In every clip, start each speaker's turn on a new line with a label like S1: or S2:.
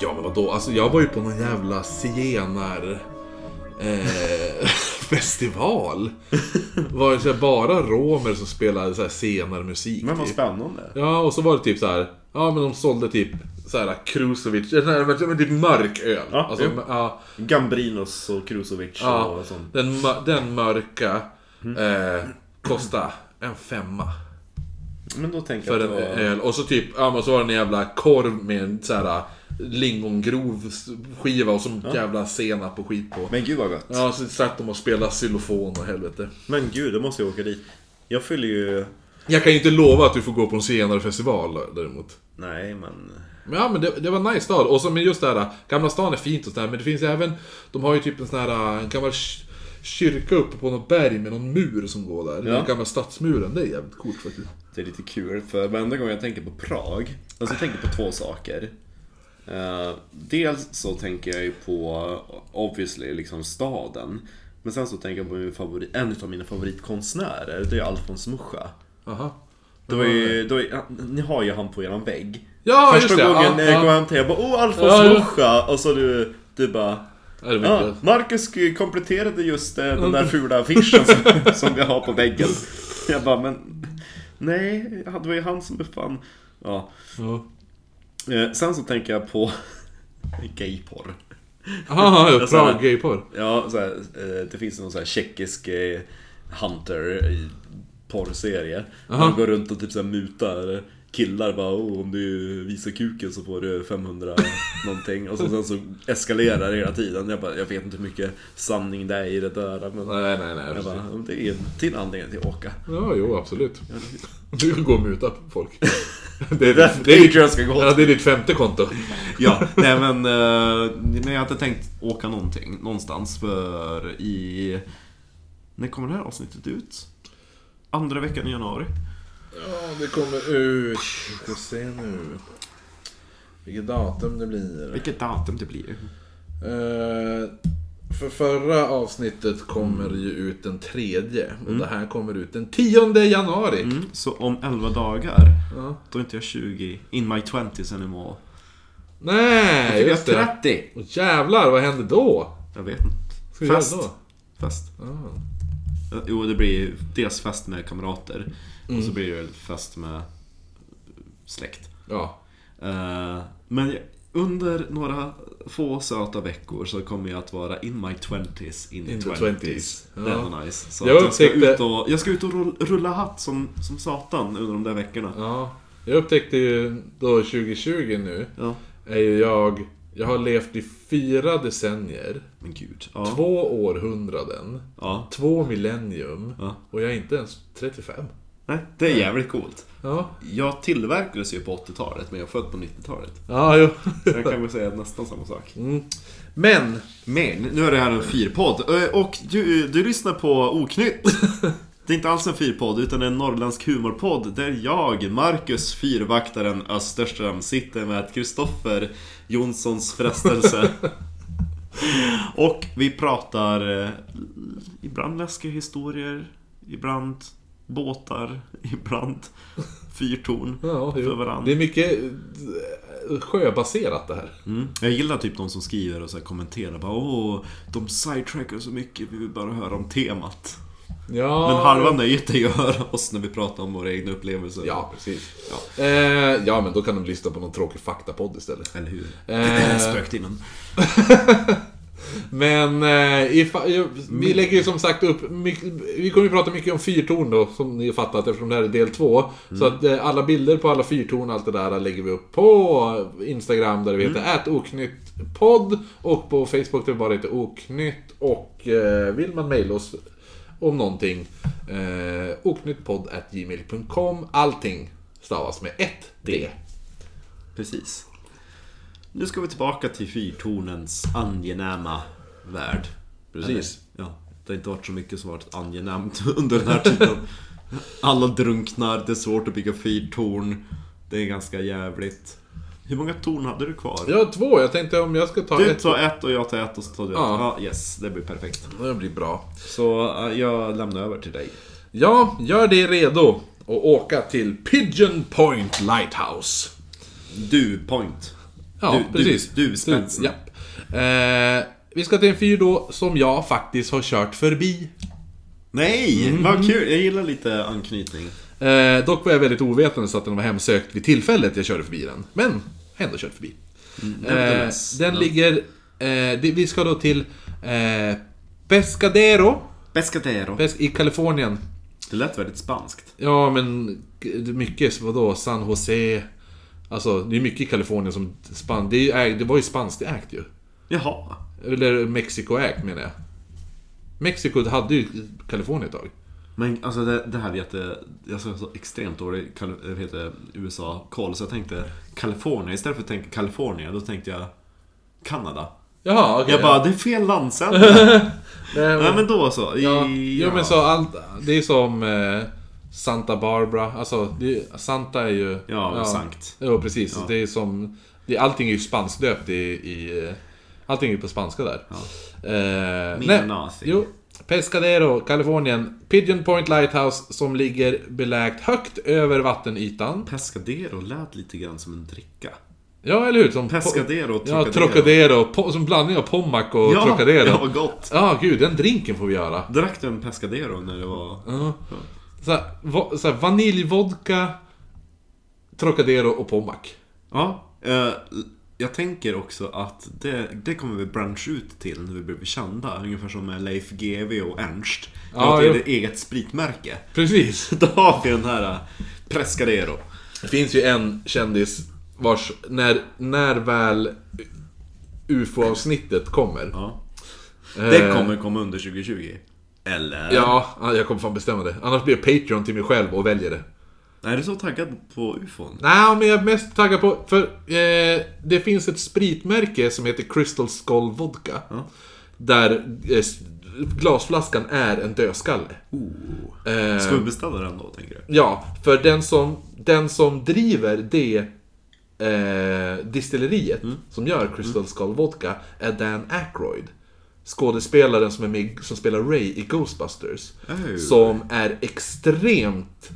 S1: Ja men vadå, alltså jag var ju på någon jävla zigenar... Eh, festival. Var det så här, bara romer som spelade så här zigenarmusik.
S2: Men vad
S1: typ.
S2: spännande.
S1: Ja, och så var det typ så här. Ja, men de sålde typ så här Krusovic, eller nej, men typ mörk öl.
S2: Ja,
S1: alltså,
S2: jo.
S1: m- ja,
S2: Gambrinos och Krusovic
S1: ja,
S2: och sånt.
S1: den, mö- den mörka
S2: Mm.
S1: eh, kostade en femma
S2: Men då tänker
S1: för
S2: jag
S1: en
S2: att det var...
S1: öl. Och så typ, ja men så var det en jävla korv med en så här äh, lingongrov s- skiva och så jävla senap och skit på.
S2: Men gud vad gott.
S1: Ja, så satt de och spelade xylofon och helvete.
S2: Men gud, då måste jag åka dit. Jag fyller ju...
S1: Jag kan ju inte lova att du får gå på en senare festival däremot.
S2: Nej, men...
S1: Men ja, men det, det var en nice stad. Och så, men just det här, äh, Gamla stan är fint och sådär, men det finns även... De har ju typ en sån här en gammal ky- kyrka uppe på något berg med någon mur som går där.
S2: Ja.
S1: Den gamla stadsmuren, det är jävligt coolt faktiskt.
S2: Det är lite kul, för varenda gång jag tänker på Prag, alltså jag tänker på två saker. Eh, dels så tänker jag ju på, obviously, liksom staden. Men sen så tänker jag på min favorit, en av mina favoritkonstnärer, det är Alfons Muscha.
S1: Aha.
S2: Det var ju,
S1: Mm.
S2: det var ju, ni har ju han på eran vägg.
S1: Ja,
S2: Första
S1: just det!
S2: gången när
S1: ja,
S2: jag kom
S1: ja.
S2: hem till er, jag bara Åh Alfons
S1: Ja, ja.
S2: Muscha! Och så du, du bara
S1: Ja, det var
S2: Ja,
S1: inte-
S2: Marcus kompletterade just eh, den där fula affischen som, som vi har på väggen. Jag bara, men nej, det var ju han som befann... Ja.
S1: ja.
S2: Eh, Sen så tänker jag på gayporr.
S1: Aha, ja,
S2: Jag sa
S1: Prag
S2: det.
S1: gayporr.
S2: Ja, så här, eh, det finns någon så här tjeckisk eh, hunter eh, porrserie.
S1: Aha.
S2: Han går runt och typ så här mutar killar bara oh, om du visar kuken så får du 500 någonting. Och så, sen så eskalerar det hela tiden. Jag bara, jag vet inte hur mycket sanning det är i det där. Men
S1: Nej, nej, nej.
S2: jag bara,
S1: precis.
S2: "Ja, men det är en till anledning till att åka.
S1: Ja, jo, absolut. Du kan gå och muta folk. Det är,
S2: Det är
S1: det är,
S2: dit jag ska gå.
S1: ja, det är ditt femte konto.
S2: Ja, nej men, eh, men jag hade tänkt åka någonting, någonstans för i... När kommer det här avsnittet ut? Andra veckan i januari.
S1: Ja, det kommer ut. Vi ska se nu. Vilket datum det blir.
S2: Vilket datum det blir.
S1: Eh, för förra avsnittet kommer ju ut den tredje. Och det här kommer ut den 10 januari.
S2: Mm, så om 11 dagar,
S1: Ja.
S2: då är inte jag 20, in my 20s anymore.
S1: Nej, just
S2: jag
S1: det.
S2: är 30!
S1: Och jävlar, vad händer då?
S2: Jag vet inte.
S1: Ska vi göra
S2: Fest.
S1: då?
S2: Fest.
S1: Ja.
S2: Eh, Jo, det blir ju dels fest med kamrater, och
S1: Mm.
S2: så blir det väl fest med släkt.
S1: Ja.
S2: Eh, men jag- under några få söta veckor så kommer jag att vara in my 20s in,
S1: In
S2: the
S1: the
S2: 20s.
S1: 20s,
S2: Det
S1: ja.
S2: var nice. Så
S1: Jag
S2: jag, jag, ska
S1: upptäckte-
S2: ut och, jag ska ut och rull- rulla hatt som, som satan under de där veckorna.
S1: ja. Jag upptäckte ju då 2020 nu,
S2: Ja.
S1: är ju jag... Jag har levt i fyra decennier,
S2: Men gud. Ja.
S1: två århundraden,
S2: ja.
S1: två millennium
S2: Ja.
S1: och jag är inte ens 35.
S2: Nej, det är jävligt coolt.
S1: Ja,
S2: Jag tillverkades ju på 80-talet, men jag är född på 90-talet.
S1: ja jo. Mm.
S2: Så jag kan väl säga nästan samma sak.
S1: Men
S2: Men, nu är det här en fyrpodd. Ö, Och du, du lyssnar på Oknytt. Det är inte alls en fyrpodd, utan en norrländsk humorpodd där jag, Marcus Fyrvaktaren Österström, sitter med Kristoffer Jonssons frestelse. Och vi pratar eh, ibland läskiga historier, ibland båtar, ibland fyrtorn
S1: Ja, jo.
S2: för varandra.
S1: Det är mycket eh, sjöbaserat det här.
S2: Mm. Jag gillar typ de som skriver och så här kommenterar bara Åh, de sidetrackar så mycket, vi vill bara höra om temat.
S1: Ja,
S2: Men halva nöjet är ju att höra oss när vi pratar om våra egna upplevelser.
S1: Ja, precis. Ja. Eh, ja, men då kan de lyssna på någon tråkig faktapodd istället.
S2: Eller hur?
S1: Eh.
S2: Spöktimmen.
S1: Men eh, ifa, ju- vi lägger ju som sagt upp mycket, Vi kommer ju prata mycket om fyrtorn då, som ni har fattat eftersom det här är del två. Så att eh, alla bilder på alla fyrtorn och allt det där eh, lägger vi upp på Instagram där vi heter @oknyttpodd och på Facebook där vi bara heter oknytt. Och eh, vill man mejla oss om någonting, eh, oknyttpodd@gmail.com. Allting stavas med ett D.
S2: Precis. Nu ska vi tillbaka till fyrtornens angenäma värld.
S1: Precis.
S2: Eller, ja, det har inte varit så mycket som varit angenämt under den här tiden. Alla drunknar, det är svårt att bygga fyrtorn. Det är ganska jävligt. Hur många torn hade du kvar?
S1: Jag har två, jag tänkte om jag ska ta
S2: Du
S1: ett.
S2: tar ett och jag tar ett och så tar du ett.
S1: Ja.
S2: Ja. yes, det blir perfekt.
S1: Det blir bra.
S2: Så eh, jag lämnar över till dig.
S1: Ja, gör dig redo och åka till Pigeon Point Lighthouse.
S2: Du, point.
S1: Ja,
S2: du,
S1: precis.
S2: Du, du spetsen.
S1: Japp. Eh, vi ska till en fyr då som jag faktiskt har kört förbi.
S2: Nej,
S1: Mm.
S2: vad kul! Jag gillar lite anknytning.
S1: Eh, dock var jag väldigt ovetande så att den var hemsökt vid tillfället jag körde förbi den. Men, jag har ändå kört förbi. Eh,
S2: nevertheless.
S1: den ligger... Eh, det, vi ska då till eh, Pescadero
S2: Pescatero.
S1: pes i Kalifornien.
S2: Det lät väldigt spanskt.
S1: Ja, men g- det är mycket, vadå, San Jose... Alltså, det är mycket i Kalifornien som... Span det, är, ju ägt- det var ju spanskt ägt ju.
S2: Jaha.
S1: Eller Mexiko ägt menar jag. Mexiko hade ju Kalifornien ett tag.
S2: Men alltså det, det här är jätte... Jag har så extremt dålig Kal- vad heter det, USA-koll så jag tänkte Kalifornien. Istället för att tänka Kalifornien, då tänkte jag Kanada.
S1: Jaha, okej.
S2: Jag bara, det är fel landsända.
S1: Nej,
S2: Nej men då så. I,
S1: Ja, ja men så allt, det är som eh, Santa Barbara, alltså det, Santa är ju...
S2: Ja, sankt.
S1: Ja, precis. Det är som, det, allting är ju spansklöpt i, i... eh, Allting är ju på spanska där. Eh,
S2: Mina nazi.
S1: Jo, Pescadero, Kalifornien. Pigeon Point Lighthouse som ligger belägt högt över vattenytan.
S2: Pescadero lät lite grann som en dricka.
S1: Ja, eller hur? Som po-
S2: Pescadero och
S1: Ja, Trocadero. Po- som blandning av Pommac och
S2: Ja,
S1: Trocadero.
S2: ja,
S1: Ja,
S2: vad gott.
S1: gud, den drinken får vi göra.
S2: Drack du en Pescadero när det var...
S1: Ja. Så här, va, så här, vaniljvodka, Trocadero och Pommac.
S2: Ja. eh, jag tänker också att det, det kommer vi bransch ut till när vi blir kända. Ungefär som med Leif GW och Ernst.
S1: Ja,
S2: Ja, det
S1: jo.
S2: är ett eget spritmärke.
S1: Precis.
S2: Då har vi den här eh, Pescadero.
S1: Det finns ju en kändis vars, när, när väl UFO-avsnittet kommer.
S2: Ja. Det
S1: Eh,
S2: kommer komma under 2020. Eller?
S1: Ja, jag kommer fan bestämma det. Annars blir jag Patreon till mig själv och väljer det.
S2: Är du så taggad på ufon?
S1: Nej, men jag är mest taggad på... För eh, det finns ett spritmärke som heter Crystal Skull Vodka. Där eh, s- glasflaskan är en dödskalle.
S2: Oh.
S1: Eh,
S2: Ska vi beställa den då, tänker du?
S1: Ja, för den som, den som driver det eh, distilleriet
S2: Mm.
S1: som gör Crystal Skull Vodka är Dan Aykroyd. Skådespelaren som, är med, som spelar Ray i Ghostbusters.
S2: Oh.
S1: Som är extremt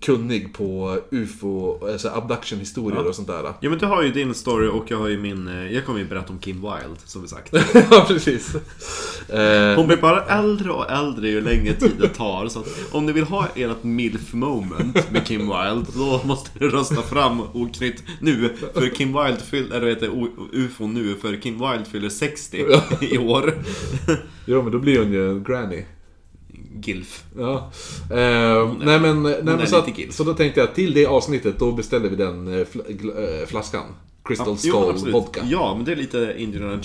S1: kunnig på UFO, alltså abduction-historier och sånt där.
S2: Ja men du har ju din story och jag har ju min... eh, Jag kommer ju berätta om Kim Wilde, som vi sagt.
S1: ja, precis. Eh,
S2: Hon blir bara äldre och äldre ju längre tiden tar. Så att om ni vill ha ert milf moment med Kim Wilde, då måste ni rösta fram Oknytt nu. För Kim Wilde fyller, eller vad heter det, O- UFO nu, för Kim Wilde fyller 60 i år.
S1: jo, men då blir hon ju en granny.
S2: Gilf.
S1: Ja. Eh, nej men, nej,
S2: är
S1: men så,
S2: lite gill.
S1: att, så då tänkte jag att till det avsnittet då beställer vi den eh, fl- gl- eh, flaskan. Crystal
S2: Ja, jo, men
S1: Skull
S2: absolut.
S1: Vodka. Ja,
S2: Ja, men det är lite Indiana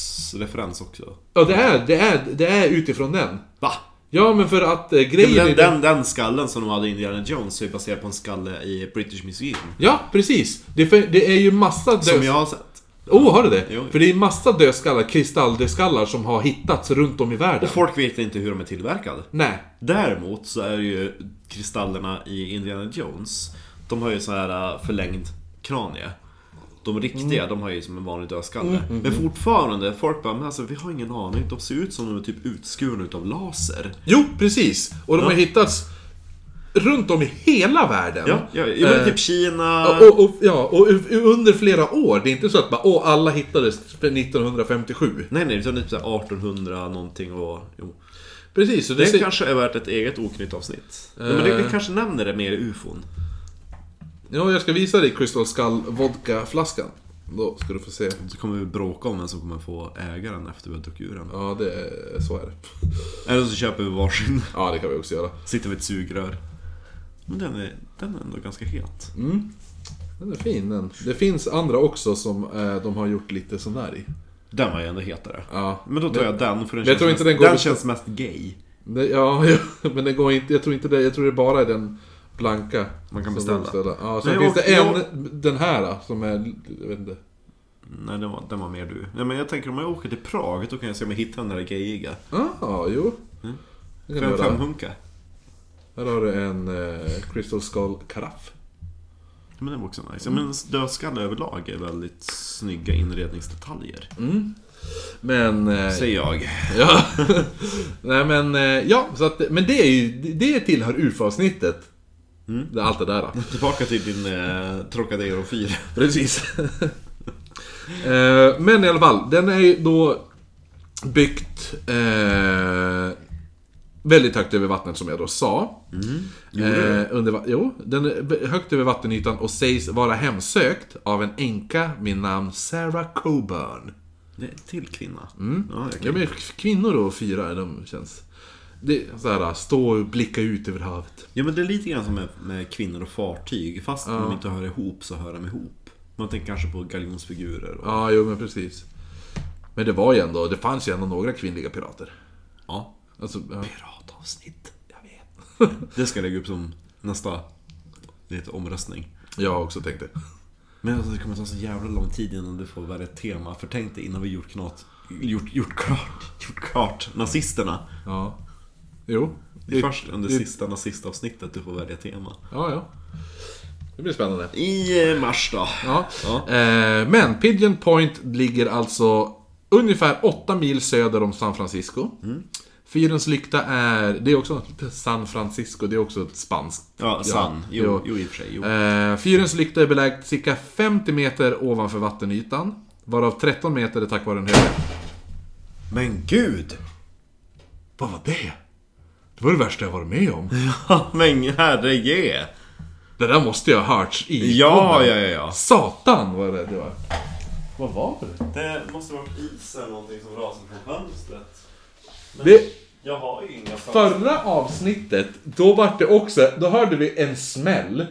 S2: Jones-referens också.
S1: det, är, det, är, det är utifrån den.
S2: Va?
S1: Ja men för att eh, grejen är
S2: Den,
S1: den...
S2: den, den skallen som de hade i Indiana Jones är ju baserad på en skalle i British Museum.
S1: Ja precis! Det är, för, det är ju massa döds...
S2: Som jag har sett.
S1: Oh, har du det?
S2: Jo.
S1: För det är massa dödskallar, kristalldödskallar som har hittats runt om i världen.
S2: Folk vet inte hur de är tillverkade.
S1: Nej.
S2: Däremot så är ju kristallerna i Indiana Jones, de har ju så här äh, förlängd kranie. De riktiga,
S1: Mm.
S2: de har ju som en vanlig dödskalle. Men fortfarande, folk bara, men alltså vi har ingen aning. De ser ut som de är typ utskurna utav laser.
S1: Jo, precis! Och de har hittats runt om i hela världen.
S2: Ja, ja, ja men
S1: Eh,
S2: typ Kina...
S1: Ja, Och, och, ja, och u- under flera år. Det är inte så att bara, åh, alla hittades 1957.
S2: Nej, nej, utan typ så här 1800 någonting och... Jo.
S1: Precis, Eh. så det,
S2: Det
S1: ser,
S2: kanske är värt ett eget oknytt avsnitt. Nej, men det, vi kanske nämner det mer i ufon.
S1: ja, jag ska visa dig Crystal Skull vodkaflaskan. Då ska du få se.
S2: Så kommer vi bråka om vem som kommer få ägaren efter vi har druckit ur den.
S1: Ja, det är, så är det.
S2: Eller så köper vi varsin.
S1: Ja, det kan vi också göra.
S2: Sitter vid ett sugrör. Men den är, den är ändå ganska het.
S1: Den är fin den. Det finns andra också som eh, de har gjort lite sån där i.
S2: Den var ju ändå hetare.
S1: Ja,
S2: Men då tar jag den för den,
S1: men jag
S2: känns,
S1: tror
S2: mest,
S1: inte den går
S2: den
S1: att-
S2: känns mest gay.
S1: det, ja, ja men det går inte. Jag tror inte det. Jag tror det bara är den blanka.
S2: Man kan
S1: som
S2: beställa.
S1: de beställer. Ja,
S2: Men
S1: sen
S2: jag
S1: finns det en,
S2: åker-
S1: den här då, som är, jag vet inte.
S2: Nej, den var, den var mer du. Nej, men jag tänker om jag åker till Prag, då kan jag se om jag hittar den där gayiga.
S1: Ah, jo.
S2: Mm.
S1: Det kan
S2: För
S1: du
S2: en
S1: göra.
S2: femhunka.
S1: Här har du en eh, Crystal Skull karaff.
S2: Ja, Men den var också nice. Ja,
S1: Mm.
S2: men dödskalle överlag är väldigt snygga inredningsdetaljer.
S1: Men... Eh,
S2: Säger jag.
S1: ja. Nej men, eh, ja. Så att, men det är ju, det tillhör UFO-avsnittet. Det- Allt det där. då.
S2: Tillbaka till din eh, Trocadero 4.
S1: Precis. Eh, men i alla fall, den är ju då byggt eh, väldigt högt över vattnet som jag då sa.
S2: Mm.
S1: Eh, under, va- jo, den är b- högt över vattenytan och sägs vara hemsökt av en änka med namn Sarah Coburn.
S2: Det är en till kvinna. Ja, jag
S1: Ja
S2: kan...
S1: men kvinnor och fyra, de känns... Det, är så här, stå och blicka ut över havet.
S2: ja, men det är lite grann som med, med kvinnor och fartyg. Fast de inte hör ihop så hör de ihop. Man tänker kanske på galjonsfigurer. Och...
S1: Ja, jo men precis. Men det var ju ändå, det fanns ju ändå några kvinnliga pirater.
S2: Ja.
S1: Alltså, ja.
S2: Piratavsnitt. Jag vet. det ska jag lägga upp som nästa lite omröstning.
S1: Jag har också tänkt det.
S2: Men alltså, det kommer ta så jävla lång tid innan du får välja ett tema. För tänk dig innan vi gjort knat, gjort, gjort klart, gjort klart nazisterna.
S1: Ja. Jo.
S2: Det är först under
S1: det-
S2: sista nazistavsnittet du får välja tema.
S1: Ja, ja. Det blir spännande.
S2: I eh, mars då.
S1: Ja.
S2: Ja.
S1: Eh, men Pigeon Point ligger alltså ungefär 8 mil söder om San Francisco.
S2: Mm.
S1: Fyrens lykta är, det är också San Francisco, det är också ett spanskt.
S2: Ja, sann. Jo,
S1: jo.
S2: jo. i och för sig. Jo.
S1: Eh, Fyrens lykta är belägd cirka 50 meter ovanför vattenytan. Varav 13 meter är tack vare en hög.
S2: Men gud!
S1: Vad var det? Det var det värsta jag varit med om.
S2: Ja, men herrege!
S1: Det där måste jag ha hört i
S2: Ja,
S1: podden.
S2: ja, ja, ja.
S1: Satan vad rädd jag var. Vad var det?
S2: Det måste vara is eller någonting som rasar från fönstret.
S1: det
S2: Jag har ju inga
S1: förra avsnittet, då var det också, då hörde vi en smäll.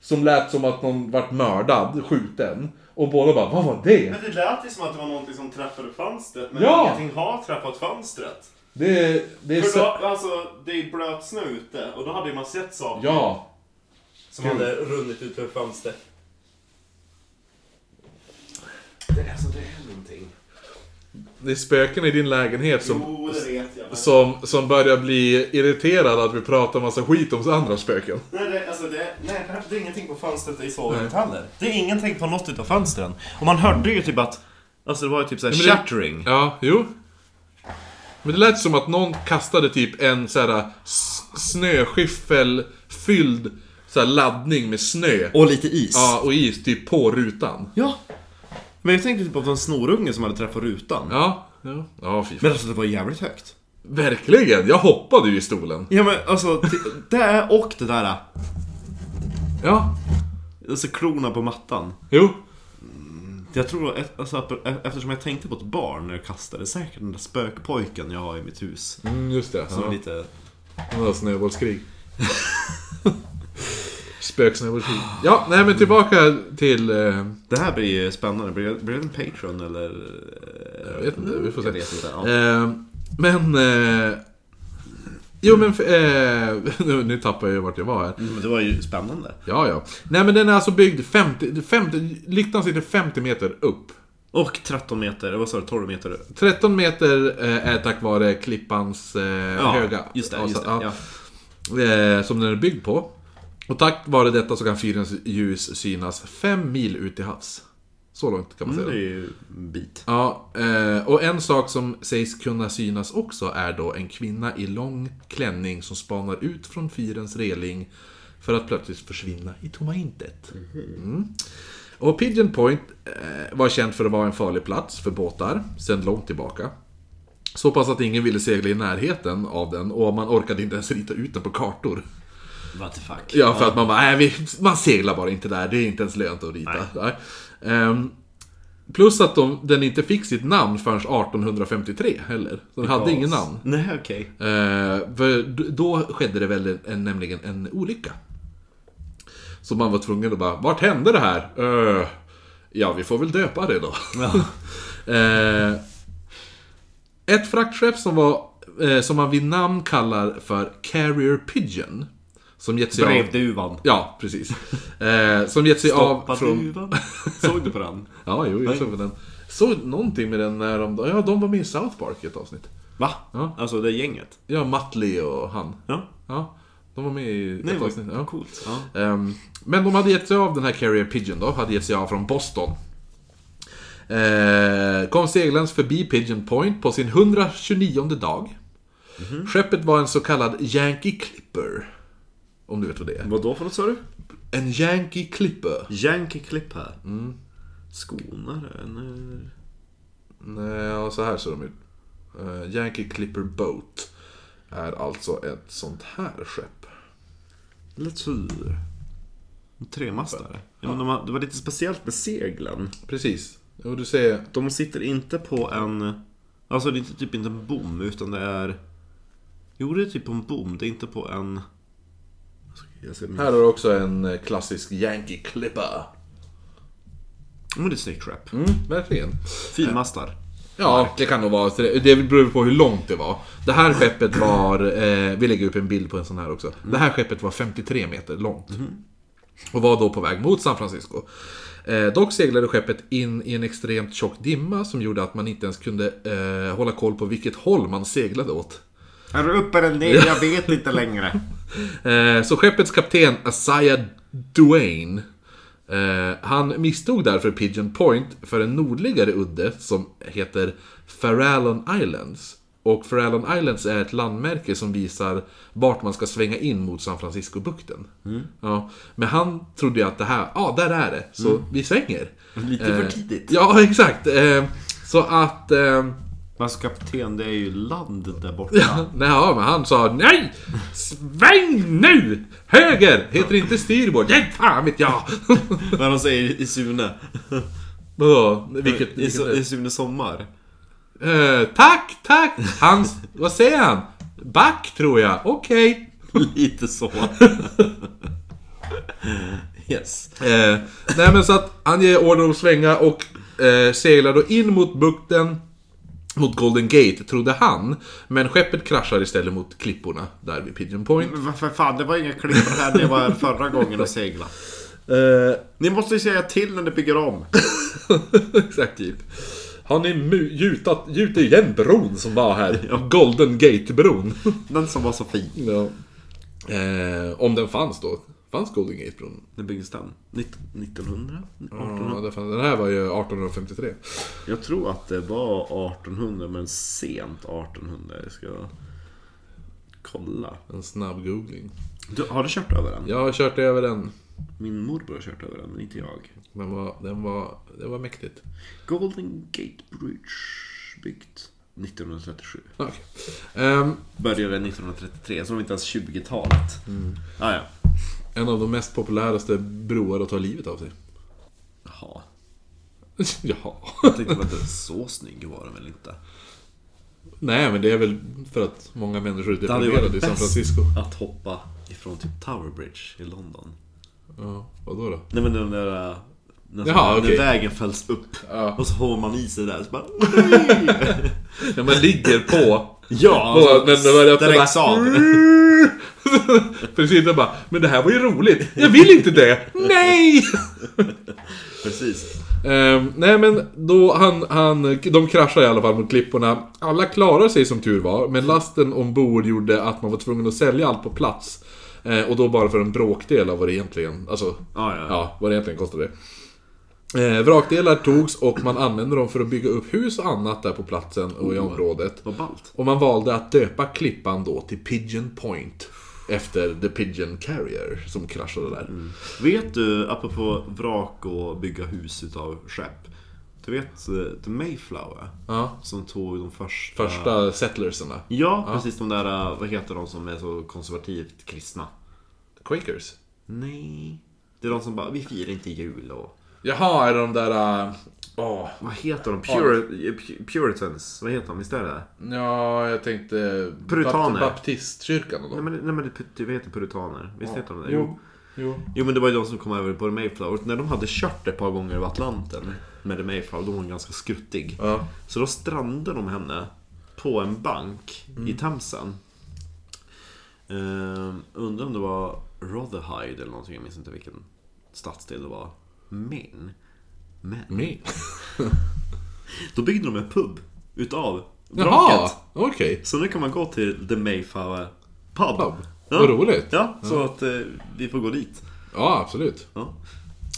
S1: Som lät som att någon vart mördad, skjuten. Och båda bara, vad var det?
S2: det lät ju som att det var någonting som träffade fönstret, men
S1: Ja! ingenting
S2: har träffat fönstret.
S1: Det, det är så...
S2: alltså, det är blöt snö ute och då hade man sett saker
S1: Ja.
S2: som hade runnit ut ur fönstret. Det, alltså, det är någonting.
S1: Det är spöken i din lägenhet som,
S2: Jo, det vet jag. men-
S1: som, som börjar bli irriterad att vi pratar massa skit om andra spöken.
S2: Nej, det, alltså det, nej, det är ingenting på fönstret i sovrummet heller. Det är ingenting på något utav fönstren. Och man hörde ju typ att... Alltså det var ju typ såhär
S1: men det-
S2: shattering.
S1: Ja, jo. Men det lät som att någon kastade typ en så här s- snöskyffel fylld så här laddning med snö.
S2: Och lite is.
S1: Ja, och is typ på rutan.
S2: Ja. Men jag tänkte typ att det var en snorunge som hade träffat rutan.
S1: Ja, ja. Ja, fy fan.
S2: Men alltså det var jävligt högt.
S1: Verkligen! Jag hoppade ju i stolen.
S2: Ja men alltså, t- det och det där.
S1: Ja,
S2: Alltså klorna på mattan.
S1: jo.
S2: Jag tror, att- alltså, att- eftersom jag tänkte på ett barn när jag kastade, säkert den där spökpojken jag har i mitt hus.
S1: Mm, just det.
S2: Som är
S1: Ja.
S2: lite...
S1: Några snöbollskrig. Spöksnöbollskrig. Ja, nej men tillbaka till... Eh,
S2: Det här blir ju spännande. Blir, blir det en Patreon eller?
S1: jag vet inte, vi får se.
S2: Jag vet inte. Ja.
S1: Eh, men... Eh, jo men... Eh, nu, nu tappar jag ju vart jag var här.
S2: Mm, Men det var ju spännande.
S1: Ja, ja. Nej men den är alltså byggd 50... 50 lyktan sitter 50 meter upp.
S2: Och 13 meter, vad sa du, 12 meter?
S1: 13 meter eh, är tack vare klippans eh, höga.
S2: just det.
S1: Ja, så-
S2: Just det
S1: ja.
S2: ja.
S1: eh, som den är byggd på. Och tack vare detta så kan fyrens ljus synas fem mil ut till havs. Så långt kan man
S2: Det
S1: säga.
S2: är
S1: det.
S2: ju en bit.
S1: Ja, eh, och en sak som sägs kunna synas också är då en kvinna i lång klänning som spanar ut från fyrens reling för att plötsligt försvinna i tomma intet. Mm. Och Pigeon Point eh, var känd för att vara en farlig plats för båtar sedan långt tillbaka. Så pass att ingen ville segla i närheten av den och man orkade inte ens rita ut den på kartor.
S2: What the fuck?
S1: Ja, för att man bara, nej, vi, man seglar bara inte där. Det är inte ens lönt att rita. Nej. Ehm, plus att de, den inte fick sitt namn förrän 1853 heller. Så den hade ingen namn.
S2: Nej, okej.
S1: Ehm, för d- då skedde det väl en, nämligen en olycka. Så man var tvungen att bara, vart hände det här? Öh, ja, vi får väl döpa det då.
S2: Ja.
S1: Eh, ett fraktskepp som, var, eh, som man vid namn kallar för Carrier Pigeon. Som gett sig av...
S2: Brevduvan.
S1: Ja, precis. Eh, som gett sig av från...
S2: Stoppaduvan. Såg du på den?
S1: Ja, jo, jag
S2: Nej.
S1: såg den. Såg någonting med den när de... Ja, de var med i South Park i ett avsnitt.
S2: Va?
S1: Ja.
S2: Alltså det är gänget?
S1: Ja, Matley och han.
S2: Ja.
S1: Ja, de var med i ett
S2: Nej, vad
S1: avsnitt. Ja.
S2: coolt. Ja.
S1: Ehm, men de hade gett sig av den här Carrier Pigeon då, hade gett sig av från Boston. Eh, kom seglans förbi Pigeon Point på sin 129 dag.
S2: Mhm.
S1: Skeppet var en så kallad Yankee Clipper. Om du vet vad det är.
S2: Vad då för något sa du?
S1: En Yankee Clipper. Mm.
S2: Yankee Clip här. Skonare? eh, Nej.
S1: Nej, ja, så här ser de ut. Eh, Yankee Clipper Boat är alltså ett sånt här skepp.
S2: Lät tur. En tremastare. Ja, men de har, det var lite speciellt med seglen.
S1: Precis. Och du ser...
S2: De sitter inte på en... Alltså det är inte- typ inte en bom utan det är... Jo det är typ på en bom, det är inte på en... Jag ska- Jag ser min...
S1: Här har du också en eh, klassisk Yankee Clipper.
S2: Men det är snyggt rap.
S1: Mm, verkligen.
S2: Finmastar.
S1: Ja, det kan nog vara. Det beror på hur långt det var. Det här skeppet var... Eh, vi lägger upp en bild på en sån här också. Det här skeppet var 53 meter långt. Och var då på väg mot San Francisco. Eh, dock seglade skeppet in i en extremt tjock dimma som gjorde att man inte ens kunde eh, hålla koll på vilket håll man seglade åt.
S2: Är du uppe eller ner? Jag vet inte längre.
S1: Eh, så skeppets kapten Isaiah Duane eh, Han misstog därför Pigeon Point för en nordligare udde som heter Farallon Islands. Och Farallon Islands är ett landmärke som visar vart man ska svänga in mot San Francisco-bukten.
S2: Mm.
S1: Ja, men han trodde ju att det här, ja ah, där är det, så vi svänger.
S2: Mm.
S1: Eh,
S2: Lite för tidigt.
S1: Ja, exakt. Eh, så att... Eh,
S2: Alltså kapten, det är ju land där borta.
S1: Nej, ja, men han sa nej! Sväng nu! Höger! Heter inte styrbord? Nej, fan vet jag!
S2: Vad de säger i Sune.
S1: Vadå? Vilket...
S2: I,
S1: vilket
S2: Su- i Sune Sommar.
S1: Eh, tack, tack! Hans... Vad säger han? Back, tror jag. Okej.
S2: Lite så. yes.
S1: Eh, nej, men så att han ger order om att svänga och eh, seglar då in mot bukten. Mot Golden Gate, trodde han. Men skeppet kraschar istället mot klipporna där vid Pigeon Point.
S2: Men varför fan, det var inga klippor här när jag var här förra gången och segla.
S1: Eh,
S2: Ni måste ju säga till när ni bygger om.
S1: Exakt typ. Har ni mu- gjutat, gjutit igen bron som var här? Golden Gate-bron.
S2: Den som var så fin.
S1: ja. eh, om den fanns då. Fanns Golden Gate-bron?
S2: När byggdes den? 1900?
S1: Ja, det fanns- den här var ju 1853.
S2: Jag tror att det var 1800 men sent 1800. Jag ska kolla.
S1: En snabb googling.
S2: Du, har du kört över den?
S1: Jag har kört över den.
S2: Min morbror har kört över den men inte jag.
S1: Den var, den var, det var mäktigt.
S2: Golden Gate Bridge byggt 1937.
S1: Ah, Okej. Ehm,
S2: Började 1933, så det var inte ens 20-talet.
S1: Mm.
S2: Ah, ja.
S1: en av de mest populäraste broar att ta livet av sig.
S2: Jaha.
S1: Jaha.
S2: Jag tänkte väl att så snygg var den väl inte?
S1: Nej, men det är väl för att många människor är
S2: Det hade ju varit
S1: deprimerade i San
S2: bäst
S1: Francisco.
S2: att hoppa ifrån typ Tower Bridge i London.
S1: Ja, vadå då?
S2: Nej men den där... När,
S1: Jaha,
S2: när
S1: okej.
S2: vägen fälls upp
S1: Ja.
S2: och så håvar man i sig där så bara...
S1: När man ligger på
S2: Ja!
S1: Ja, men det var det också
S2: direkt
S1: bara-
S2: av.
S1: Precis, jag bara Men det här var ju roligt! Jag vill inte det! Nej!
S2: Precis.
S1: Ehm, nej men då han, han, de kraschar i alla fall mot klipporna. Alla klarar sig som tur var, men lasten ombord gjorde att man var tvungen att sälja allt på plats. Eh, och då bara för en bråkdel av vad det egentligen, alltså,
S2: Ah, ja.
S1: ja, vad det egentligen kostade. Eh, vrakdelar togs och man använde dem för att bygga upp hus och annat där på platsen och i området.
S2: Vad ballt.
S1: Och man valde att döpa klippan då till Pigeon Point. Efter The Pigeon Carrier som kraschade där.
S2: Vet du, apropå vrak och bygga hus utav skepp. Du vet eh, The Mayflower?
S1: Ja.
S2: Som tog de första...
S1: Första settlerserna.
S2: Ja, precis de där, eh, vad heter de som är så konservativt kristna?
S1: Quakers.
S2: Nej. Det är de som bara, vi firar inte jul och...
S1: Jaha, är det de där... äh, Åh,
S2: Vad heter de? Puri- pu- Puritans? Vad heter de? Visst är det?
S1: ja, jag tänkte...
S2: Puritaner.
S1: Bapt- Baptistkyrkan och
S2: Nej
S1: dem.
S2: men, nej, men det, det heter puritaner. Visst heter de det?
S1: Jo. Jo.
S2: Jo men det var ju de som kom över på The Mayflower. När de hade kört ett par gånger över Atlanten med The Mayflower, då var hon ganska skruttig.
S1: Ja.
S2: Så då strandade de henne på en bank i
S1: Mm.
S2: Themsen. Ehm, undrar om det var Rotherhide eller någonting, jag minns inte vilken stadsdel det var. Maine. Men.
S1: Me.
S2: Då byggde de en pub utav
S1: Jaha,
S2: vraket.
S1: okej.
S2: Så nu kan man gå till The Mayflower Pub.
S1: Pub.
S2: Ja.
S1: Vad roligt. Ja.
S2: Ja, så att eh, vi får gå dit.
S1: absolut.
S2: Ja.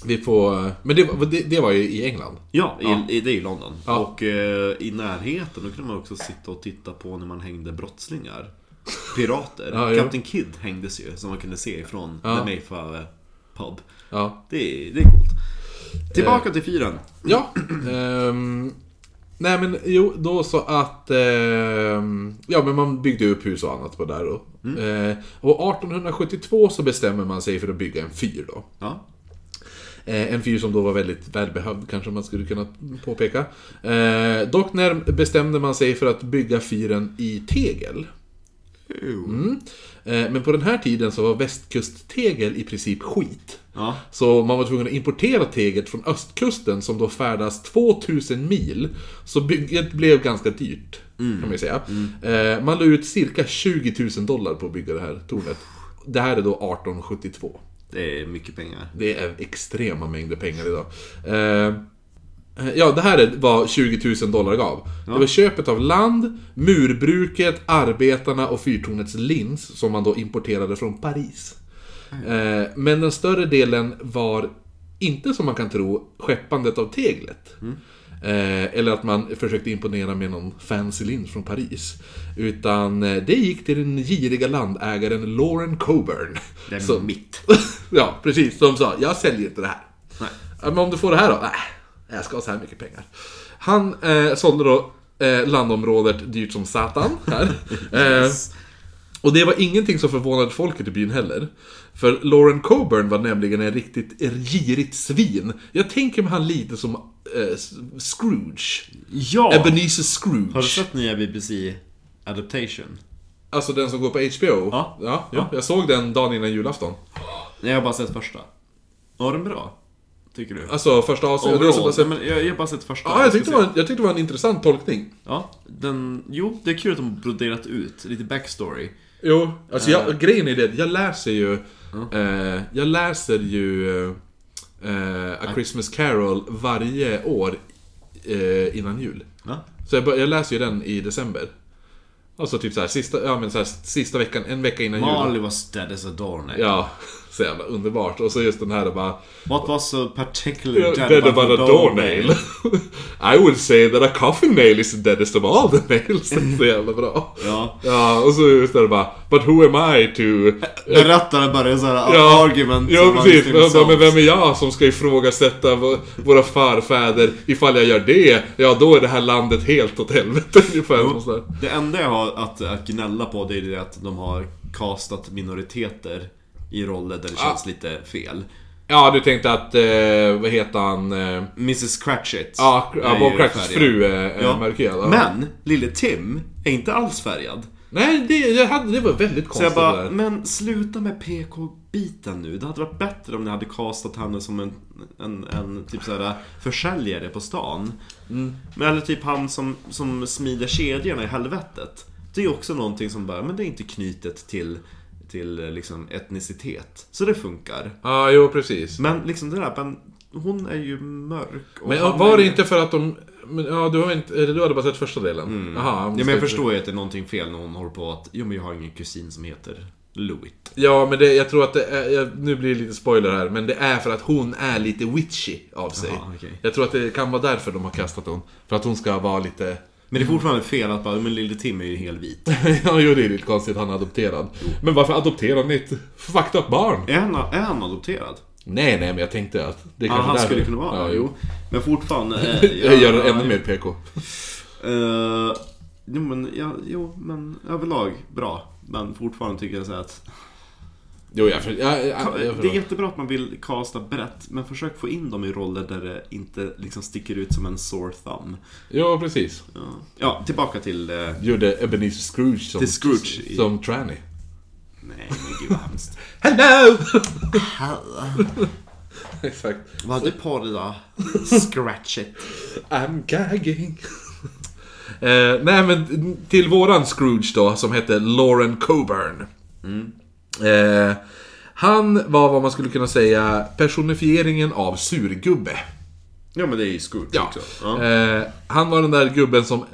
S1: Vi får... äh, Men det, var- det, det var ju i England.
S2: Ja, i, I, det är i London.
S1: Ja.
S2: Och eh, i närheten då kunde man också sitta och titta på när man hängde brottslingar. Pirater.
S1: Ja, jo.
S2: Captain Kidd hängdes ju, som man kunde se ifrån
S1: Ja.
S2: The Mayflower Pub.
S1: Ja.
S2: Det är, det är coolt.
S1: Eh.
S2: Tillbaka till fyren.
S1: Ja. ehm, nej men jo, då så att... ehm, ja men man byggde upp hus och annat på där då. Eh, och 1872 så bestämmer man sig för att bygga en fyr då.
S2: Ja.
S1: Eh, En fyr som då var väldigt välbehövd kanske man skulle kunna påpeka. Eh, dock när bestämde man sig för att bygga fyren i tegel. Mm. Eh, men på den här tiden så var västkusttegel i princip skit.
S2: Ja.
S1: Så man var tvungen att importera teglet från östkusten som då färdas 2000 mil. Så bygget blev ganska dyrt, kan man ju säga. Eh, man la ut cirka 20 000 dollar på att bygga det här tornet. Det här är då 1872.
S2: Det är mycket pengar.
S1: Det är extrema mängder pengar idag. Eh, ja, det här är vad 20 000 dollar gav. Det var köpet av land, murbruket, arbetarna och fyrtornets lins som man då importerade från Paris.
S2: Mm.
S1: Eh, men den större delen var inte som man kan tro skeppandet av teglet.
S2: Mm.
S1: Eh, eller att man försökte imponera med någon fancy lins från Paris. Utan eh, det gick till den giriga landägaren Lauren Coburn.
S2: Det är
S1: Som-
S2: mitt.
S1: ja, precis. Som sa, jag säljer inte det här.
S2: Nej.
S1: Ja, Men om du får det här då? Nej, jag ska ha så här mycket pengar. Han eh, sålde då eh, landområdet dyrt som satan. Här. Eh, och det var ingenting som förvånade folket i byn heller. För Lauren Coburn var nämligen en riktigt girigt svin. Jag tänker mig han lite som eh, Scrooge.
S2: Ja!
S1: Ebenezer Scrooge.
S2: Har du sett nya BBC Adaptation?
S1: Alltså den som går på HBO?
S2: Ja.
S1: Ja,
S2: Ja.
S1: Jag såg den dagen innan julafton.
S2: Nej, jag har bara sett första. Var den bra? Tycker du?
S1: Alltså första avsnittet. det var så
S2: Overall.
S1: pass-
S2: Nej, men jag, jag har bara sett första.
S1: Ja, jag
S2: ska
S1: tyckte, det
S2: se.
S1: var, jag tyckte det var en intressant tolkning.
S2: Ja, den... Jo, det är kul att de broderat ut lite backstory.
S1: Jo, alltså jag, grejen är det, jag läser ju... Eh, jag läser ju eh, A Christmas Carol varje år eh, innan jul.
S2: Ja.
S1: Så jag, bör, jag läser ju den i december. Alltså typ så här, sista, ja, men så här, sista veckan, en vecka innan jul.
S2: Marley was dead as a doornail.
S1: Ja, så jävla underbart. Och så just den här bara...
S2: What was so particularly dead,
S1: Dead about a doornail. I would say that a coffin nail is the deadest of all the nails. Så jävla bra.
S2: Ja.
S1: Ja, och så just det bara, but who am I to...
S2: Berättaren börjar såhär
S1: Ja,
S2: argument. liksom
S1: ja
S2: amongst
S1: precis. Men, jag bara,
S2: himself.
S1: men vem är jag som ska ifrågasätta v- våra förfäder? Ifall jag gör det, ja då är det här landet helt åt helvete ungefär.
S2: Jo,
S1: och sådär.
S2: Det enda jag har att, att gnälla på det är det att de har castat minoriteter i roller där det
S1: Ah.
S2: känns lite fel.
S1: Ja, du tänkte att, eh, vad heter han? Eh,
S2: Mrs Cratchit.
S1: ja,
S2: är
S1: ja,
S2: ju
S1: Bob Cratchits
S2: färgad.
S1: fru eh, är, är
S2: Ja.
S1: mörkhyad. Ja.
S2: Men, lille Tim är inte alls färgad.
S1: Nej, det, jag hade, det var väldigt
S2: Så
S1: konstigt det
S2: jag bara,
S1: där.
S2: men sluta med PK-biten nu. Det hade varit bättre om ni hade castat henne som en, en, en typ såhär försäljare på stan.
S1: Mm.
S2: Men eller typ han som, som smider kedjorna i helvetet. Det är också någonting som bara, men det är inte knutet till, till eh, liksom etnicitet. Så det funkar.
S1: Ja, jo precis.
S2: Men liksom det där, men hon är ju mörk. och
S1: Men äh,
S2: han
S1: var
S2: är-
S1: det inte för att de... Men, ja, du, har inte, eller du hade bara sett första delen? Aha,
S2: Mm. Ja, men jag förstår ju att det är någonting fel när hon håller på att, jo men jag har ingen kusin som heter Louit.
S1: Ja, men det, jag tror att det är, jag, Nu blir det lite spoiler här, men det är för att hon är lite witchy av sig.
S2: Jaha, okej.
S1: Jag tror att det kan vara därför de har kastat hon. För att hon ska vara lite...
S2: Men det är fortfarande fel att bara, men lille Tim är ju helt vit.
S1: ja, jo, det är lite konstigt. Han är adopterad. Men varför adopterar ni ett fucked up barn?
S2: Är han, är han adopterad?
S1: Nej, nej, men jag tänkte att... Det är
S2: Ja,
S1: kanske
S2: han
S1: därför.
S2: skulle kunna vara
S1: Ja,
S2: det,
S1: jo.
S2: jo. Men fortfarande... eh,
S1: Jag gör det
S2: ja,
S1: ännu mer PK.
S2: eh, jo, men, ja, jo, men överlag bra. Men fortfarande tycker jag så här att...
S1: Jo, jag, för, jag, jag, jag,
S2: det
S1: förstår.
S2: är jättebra att man vill casta brett, men försök få in dem i roller där det inte liksom sticker ut som en sore thumb.
S1: Jo, precis.
S2: Ja, ja tillbaka till... eh,
S1: Gjorde Ebenezer Scrooge som...
S2: Till Scrooge i-
S1: Som tranny.
S2: nej, men gud vad hemskt.
S1: Hello! Exakt.
S2: Vad hade du på dig då? Scratch it.
S1: I'm gagging. eh, nej men till våran Scrooge då, som hette Lauren Coburn. Mm. Eh, han var vad man skulle kunna säga personifieringen av surgubbe.
S2: Ja, men det är ju Scrooge
S1: Ja.
S2: också. Ja.
S1: Eh, han var den där gubben som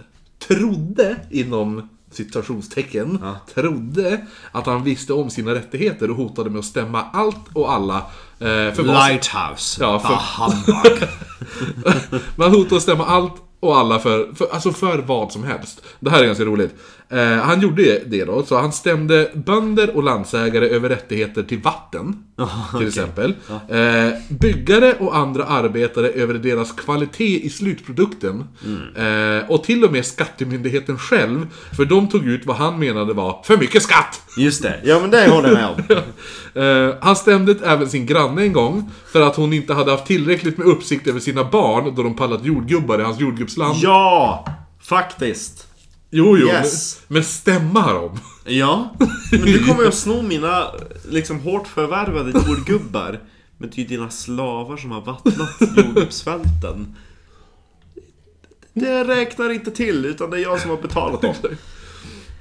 S1: trodde, inom citationstecken, trodde att han visste om sina rättigheter och hotade med att stämma allt och alla. Eh, för vad-
S2: Lighthouse.
S1: Ja, för-
S2: Bah, humbug.
S1: Man hotade att stämma allt Och alla för, för, alltså för vad som helst. Det här är ganska roligt. Eh, han gjorde det då, så han stämde bönder och landsägare över rättigheter till vatten. till exempel. Eh, byggare och andra arbetare över deras kvalitet i slutprodukten. Eh, och till och med skattemyndigheten själv. För de tog ut vad han menade var för mycket skatt!
S2: Just det, ja men det håller jag med om.
S1: Eh, han stämde även sin granne en gång för att hon inte hade haft tillräckligt med uppsikt över sina barn då de pallat jordgubbar i hans jordgubbsland.
S2: Ja, faktiskt.
S1: Jo, jo.
S2: Yes.
S1: Men stämma dem?
S2: Ja, men du kommer ju att sno mina liksom hårt förvärvade jordgubbar. Men det är ju dina slavar som har vattnat jordgubbsfälten. Det räknar inte till, utan det är jag som har betalat dem.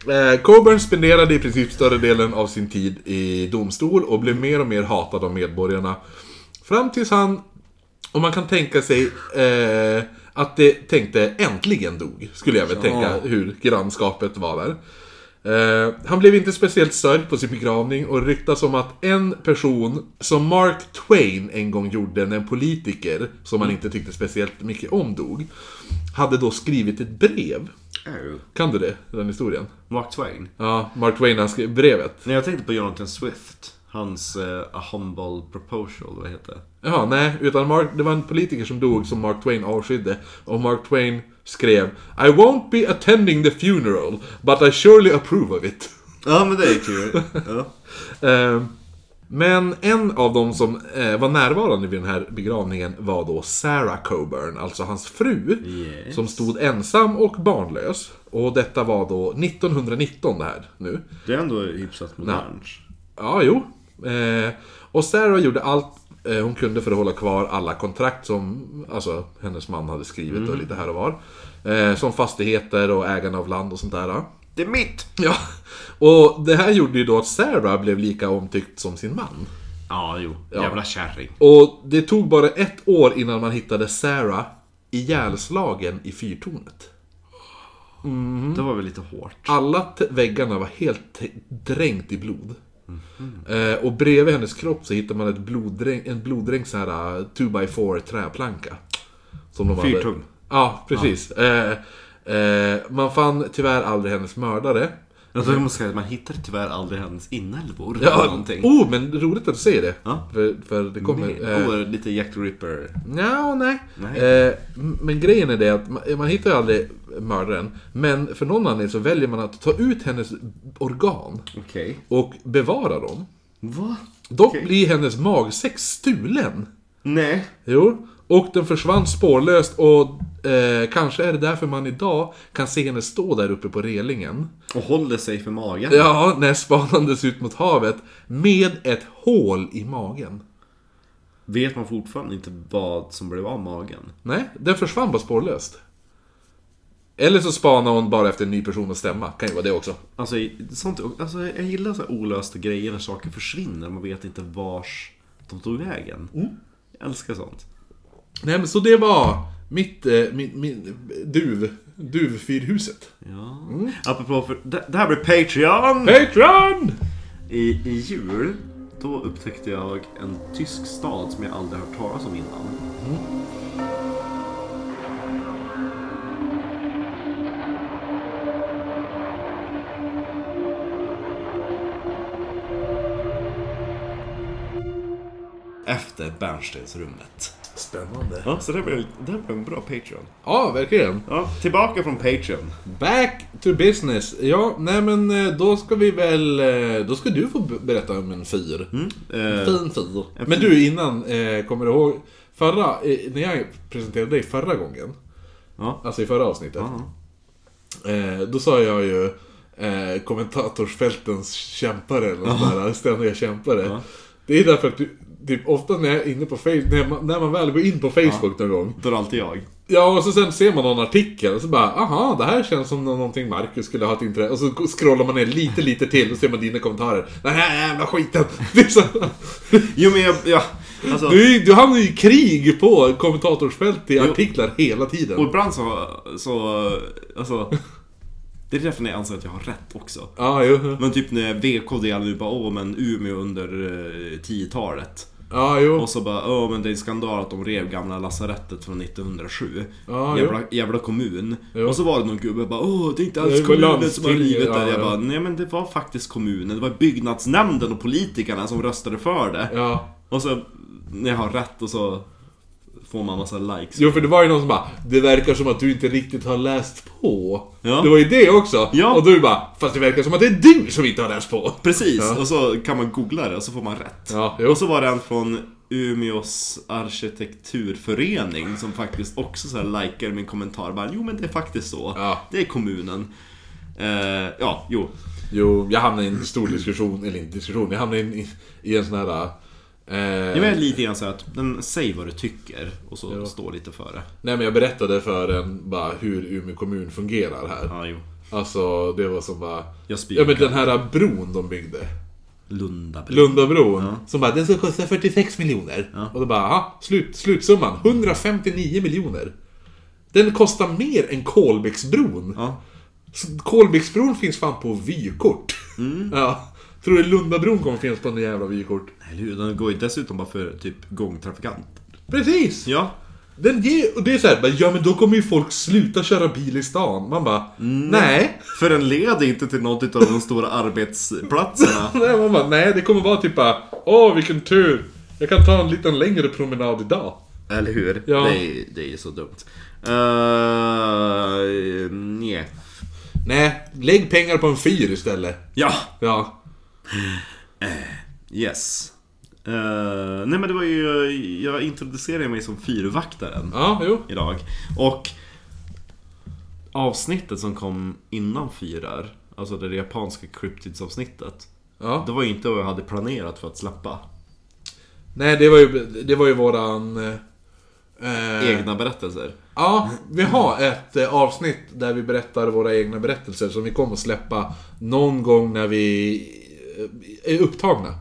S1: Eh, Coburn spenderade i princip större delen av sin tid i domstol och blev mer och mer hatad av medborgarna. Fram tills han, om man kan tänka sig, eh, att det tänkte äntligen dog. Skulle jag väl tänka hur grannskapet var där. Eh, han blev inte speciellt sörjd på sin begravning och ryktas om att en person som Mark Twain en gång gjorde när en politiker, som han inte tyckte speciellt mycket om, dog. Hade då skrivit ett brev. Kan du det? Den historien?
S2: Oh. Mark Twain.
S1: Ja, Mark Twain han skrev brevet.
S2: Nej, jag tänkte på Jonathan Swift. Hans eh, A Humble Proposal, vad heter det?
S1: Ja, nej, utan Mark, det var en politiker som dog som Mark Twain avskydde. Och Mark Twain skrev I won't be attending the funeral, but I surely approve of it.
S2: Ja, men det är kul. Ja.
S1: Eh, Men en av dem som eh, var närvarande vid den här begravningen var då Sarah Coburn, alltså hans fru.
S2: Yes.
S1: Som stod ensam och barnlös. Och detta var då 1919 det här nu.
S2: Det är ändå hyfsat modernt.
S1: Ja, jo. Eh, och Sarah gjorde allt eh, hon kunde för att hålla kvar alla kontrakt som alltså, hennes man hade skrivit och lite här och var. Eh, som fastigheter och ägarna av land och sånt där.
S2: Det är mitt!
S1: Ja. Och det här gjorde ju då att Sarah blev lika omtyckt som sin man.
S2: Ja, jo. Jävla kärring.
S1: Och det tog bara ett år innan man hittade Sarah ihjälslagen i fyrtornet.
S2: Det var väl lite hårt.
S1: Alla t- väggarna var helt t- dränkt i blod. Eh, och bredvid hennes kropp så hittar man ett bloddräng, en bloddränkt så här eh, 2x4 träplanka. Som de hade-
S2: Fyrtung.
S1: Ja, precis. Eh, eh, man fann tyvärr aldrig hennes mördare.
S2: Jag tror man ska säga att man hittar tyvärr aldrig hennes inälvor. eller
S1: Ja,
S2: någonting.
S1: oh, men roligt att du säger det.
S2: Ja.
S1: För, för det kommer... eh,
S2: Oh, lite Jack the Ripper.
S1: Nja, nej.
S2: Nej.
S1: Eh, m- men grejen är det att man, man hittar ju aldrig mördaren. Men för någon anledning så väljer man att ta ut hennes organ
S2: Okej.
S1: och bevara dem.
S2: Va?
S1: Dock
S2: Okej.
S1: blir hennes magsäck stulen.
S2: Nej.
S1: Jo. Och den försvann spårlöst och eh, kanske är det därför man idag kan se henne stå där uppe på relingen.
S2: Och håller sig för magen.
S1: Ja, när spanandes ut mot havet med ett hål i magen.
S2: Vet man fortfarande inte vad som blev av magen?
S1: Nej, den försvann bara spårlöst. Eller så spanar hon bara efter en ny person att stämma. Kan ju vara det också.
S2: Alltså, i- sånt, alltså jag gillar så här olösta grejer när saker försvinner. Man vet inte vars de tog vägen. Jag älskar sånt.
S1: Nej men så det var mitt, eh, min, min duv, duvfyrhuset.
S2: Ja. Apropå för... Det, det här blir Patreon!
S1: Patreon!
S2: I, I jul, då upptäckte jag en tysk stad som jag aldrig hört talas om innan. Efter Bernsteinsrummet.
S1: Spännande.
S2: Ja, så det här blev, det här blev en bra Patreon.
S1: Ja, verkligen.
S2: Ja, tillbaka från Patreon.
S1: Back to business. Ja, nej men eh, då ska vi väl... eh, Då ska du få b- berätta om en fyr. En
S2: Eh,
S1: fin fyr. Men du innan, eh, kommer du ihåg förra, eh, när jag presenterade dig förra gången?
S2: ja.
S1: Alltså i förra avsnittet.
S2: Ja.
S1: Eh, då sa jag ju eh, kommentatorsfältens kämpare eller något sådär, ständiga kämpare. Det är därför att du, typ, ofta när jag är inne på Facebook, när man, när man väl går in på Facebook någon gång.
S2: Då är det alltid jag.
S1: Ja, och så sen ser man någon artikel och så bara aha, det här känns som nå- någonting Marcus skulle ha ett intresse Och så scrollar man ner lite, lite till och ser man dina kommentarer. Den här jävla skiten! Det är så,
S2: Jo men jag... Ja, alltså,
S1: du, du hamnar ju i krig på kommentatorsfält i
S2: Jo.
S1: artiklar hela
S2: Och
S1: tiden.
S2: ibland så, så, alltså Det är därför jag anser att jag har rätt också
S1: Ja, jo.
S2: Men typ när VKD hade ju bara åh men Umeå under eh, 10-talet
S1: Ja, jo.
S2: Och så bara, åh men det är skandal att de rev gamla lasarettet från 1907.
S1: Ja, jo.
S2: jävla, jävla kommun.
S1: Jo.
S2: Och så var det någon gubbe bara, åh det är inte
S1: Det
S2: alls
S1: var
S2: kommunen som har
S1: landstinget,
S2: rivit det.
S1: ja,
S2: jag
S1: ja.
S2: bara, nej men det var faktiskt kommunen. Det var byggnadsnämnden och politikerna som röstade för det.
S1: Ja.
S2: Och så, när jag har rätt och så får man massa likes.
S1: Jo, för det var ju någon som bara Det verkar som att du inte riktigt har läst på.
S2: Ja.
S1: Det var ju det också.
S2: Ja.
S1: Och då är det bara Fast det verkar som att det är du som inte har läst på.
S2: Precis,
S1: Ja.
S2: och så kan man googla det och så får man rätt.
S1: Ja, jo.
S2: Och så var det en från Umeås arkitekturförening som faktiskt också så här likade min kommentar. Bara, jo men det är faktiskt så.
S1: Ja.
S2: Det är kommunen. Eh, ja, jo.
S1: Jo, jag hamnade i en stor diskussion, eller inte diskussion, jag hamnade i, i en sån här... Eh,
S2: Jag är lite grann så här att, men, säg vad du tycker och så
S1: Ja.
S2: stå lite för det.
S1: Nej men jag berättade för en bara hur Umeå kommun fungerar här.
S2: Ja, jo.
S1: Alltså det var som bara...
S2: Jag spyr.
S1: Ja men den här bron de byggde.
S2: Lunda.
S1: Lundabron. Som bara, den ska kosta 46 miljoner. Och då bara, aha, slut, slutsumman. 159 miljoner. Den kostar mer än Kolbäcksbron.
S2: Ja.
S1: Så Kolbäcksbron finns fan på vykort.
S2: Mm.
S1: Ja. Tror du Lundabron kommer finnas på en jävla vykort?
S2: Eller hur? Den går ju dessutom bara för typ gångtrafikant.
S1: Precis!
S2: Ja.
S1: Den ger, och det är såhär, ja men då kommer ju folk sluta köra bil i stan. Man bara, nej.
S2: För den leder inte till något utav de stora arbetsplatserna.
S1: Nej, man bara, nej det kommer vara typ bara, åh vilken tur. Jag kan ta en liten längre promenad idag.
S2: Eller hur?
S1: Ja.
S2: Det, är, det är ju så dumt. Uh, nej.
S1: Nej, lägg pengar på en fyr istället.
S2: Ja,
S1: Ja.
S2: yes. Eh, nej men det var ju, jag introducerade mig som fyrvaktaren
S1: Ja, jo.
S2: idag. Och avsnittet som kom innan fyrar, alltså det japanska kryptidsavsnittet.
S1: Ja.
S2: Det var ju inte vad jag hade planerat för att släppa.
S1: Nej, det var ju, det var ju våran... Eh,
S2: Egna berättelser.
S1: Ja, vi har ett eh, avsnitt där vi berättar våra egna berättelser som vi kommer att släppa någon gång när vi eh, är upptagna.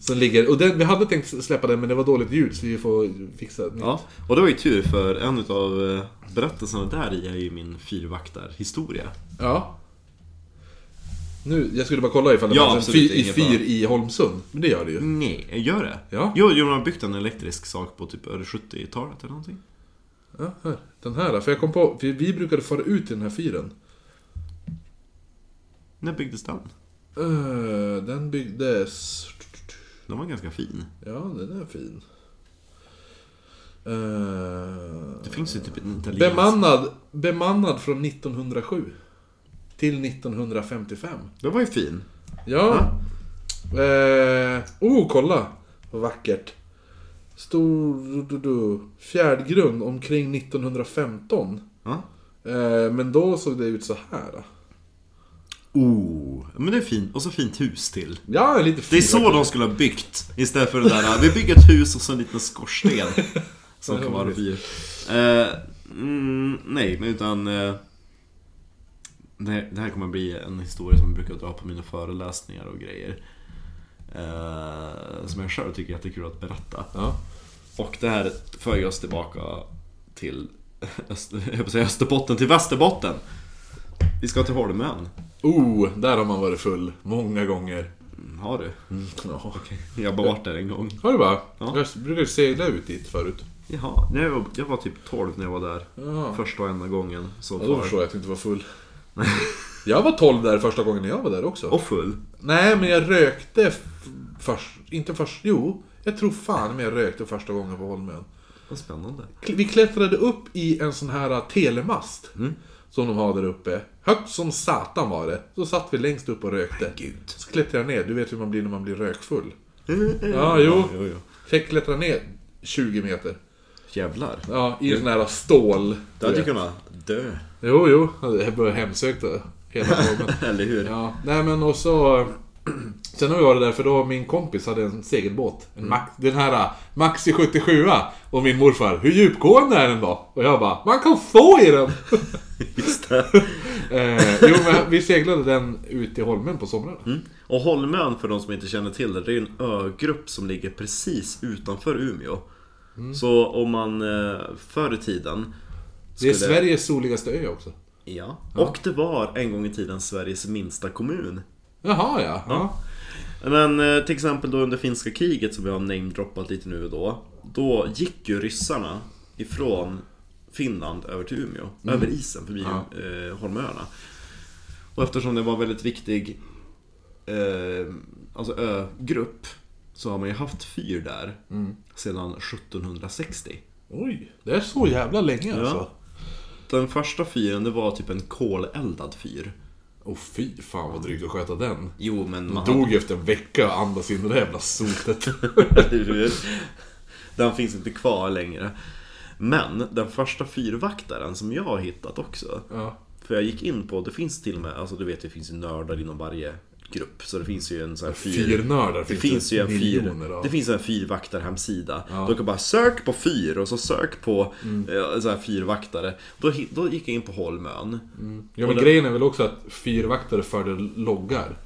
S1: Som ligger, och den, vi hade tänkt släppa den men det var dåligt ljud så vi får fixa det.
S2: Ja, och det var ju tur för en utav eh, berättelserna där i är ju min fyrvaktarhistoria.
S1: Ja. Nu, jag skulle bara kolla ifall det
S2: Ja,
S1: fanns en
S2: absolut,
S1: fyr, i
S2: inget
S1: fyr i Holmsund. Men det gör det ju.
S2: Nej, gör det?
S1: Ja.
S2: Jo, jo, de har byggt en elektrisk sak på typ är det 70-talet eller någonting.
S1: Ja, här. Den här då, för jag kom på, vi, vi brukade fara ut i den här fyren.
S2: När byggdes den?
S1: Eh, den byggdes...
S2: Den var ganska fin.
S1: Ja, den är fin. Eh,
S2: Det finns ju typ en italiensk...
S1: bemannad, bemannad från 1907. Till 1955.
S2: Den var ju fin.
S1: Ja. Eh, oh, kolla! Vad vackert. Stor du, du, du, fjärdgrund omkring 1915.
S2: Ja.
S1: Eh, men då såg det ut så här.
S2: Oh, men det är fint. Och så fint hus till.
S1: Ja, lite
S2: Det är så de skulle ha byggt. Istället för det där, vi bygger ett hus och så en liten skorsten. som kan vara fyr. Eh, mm, nej, men utan... eh, det, här, det här kommer bli en historia som jag brukar dra på mina föreläsningar och grejer. Eh, som jag själv tycker är jättekul att berätta.
S1: Ja.
S2: Och det här för ju oss tillbaka till Öster, jag höll på att säga Österbotten, till Västerbotten. Vi ska till Holmön.
S1: Oh, där har man varit full. Många gånger.
S2: Mm, Har du?
S1: Ja.
S2: Jag har bara varit där en gång.
S1: Har du bara?
S2: Ja.
S1: Jag brukade segla ut dit förut.
S2: Jaha, nej, jag var, jag var typ 12 när jag var där.
S1: Ja.
S2: Första och enda gången som
S1: Ja, då förstår jag att du inte var full. jag var 12 där första gången jag var där också.
S2: Och full.
S1: Nej, men jag rökte f- först. Inte först. Jo, jag tror fan men jag rökte första gången på Holmön.
S2: Vad spännande.
S1: Kl- Vi klättrade upp i en sån här ä, telemast. Som de har där uppe. Högt som satan var det. Så satt vi längst upp och rökte.
S2: Gud.
S1: Så klättrade jag ner. Du vet hur man blir när man blir rökfull. Ja, jo.
S2: jo, jo.
S1: Fick klättra ner 20 meter.
S2: Jävlar.
S1: Ja, i en sån här stål...
S2: Då hade jag kunnat dö.
S1: Jo, jo. Jag blev hemsökt där hela dagen.
S2: Eller hur?
S1: Ja, nej men och så... Sen har vi varit där för då min kompis hade en segelbåt.
S2: Mm.
S1: En Max, den här äh, Maxi 77 Och min morfar, hur djupgående är den då? Och jag bara, man kan få i den!
S2: Just det.
S1: eh, jo men vi seglade den ut till Holmen på somrarna.
S2: Och Holmön, för de som inte känner till det, det är ju en ögrupp som ligger precis utanför Umeå.
S1: Mm.
S2: Så om man eh, förr i tiden...
S1: det är
S2: skulle-
S1: Sveriges soligaste ö också.
S2: Ja. Och det var en gång i tiden Sveriges minsta kommun.
S1: Jaha ja. ja.
S2: Men eh, till exempel då under finska kriget som vi har namedroppat lite nu och då. Då gick ju ryssarna ifrån Finland över till Umeå. Över isen förbi
S1: Ja.
S2: eh, Holmöarna. Och eftersom det var en väldigt viktig eh, alltså ö-grupp så har man ju haft fyr där sedan 1760.
S1: Oj, det är så jävla länge
S2: Ja.
S1: alltså.
S2: Den första fyren det var typ en koleldad fyr.
S1: Åh fy fan vad drygt att sköta den.
S2: Jo men man
S1: Dog efter en vecka och andas in i det jävla sotet.
S2: Eller hur? Den finns inte kvar längre. Men den första fyrvaktaren som jag har hittat också.
S1: ja.
S2: För jag gick in på, det finns till och med, alltså du vet det finns ju nördar inom varje grupp. Så det finns ju en sån här fyr...
S1: Fyrnördar
S2: Det finns ju en
S1: miljoner
S2: fyr,
S1: av.
S2: det finns en fyrvaktarhemsida.
S1: Ja. Mm.
S2: Du kan bara sök på fyr och så sök på eh, så här fyrvaktare. Då, hi- då gick jag in på Holmön.
S1: Ja men grejen är väl också att fyrvaktare förde loggar.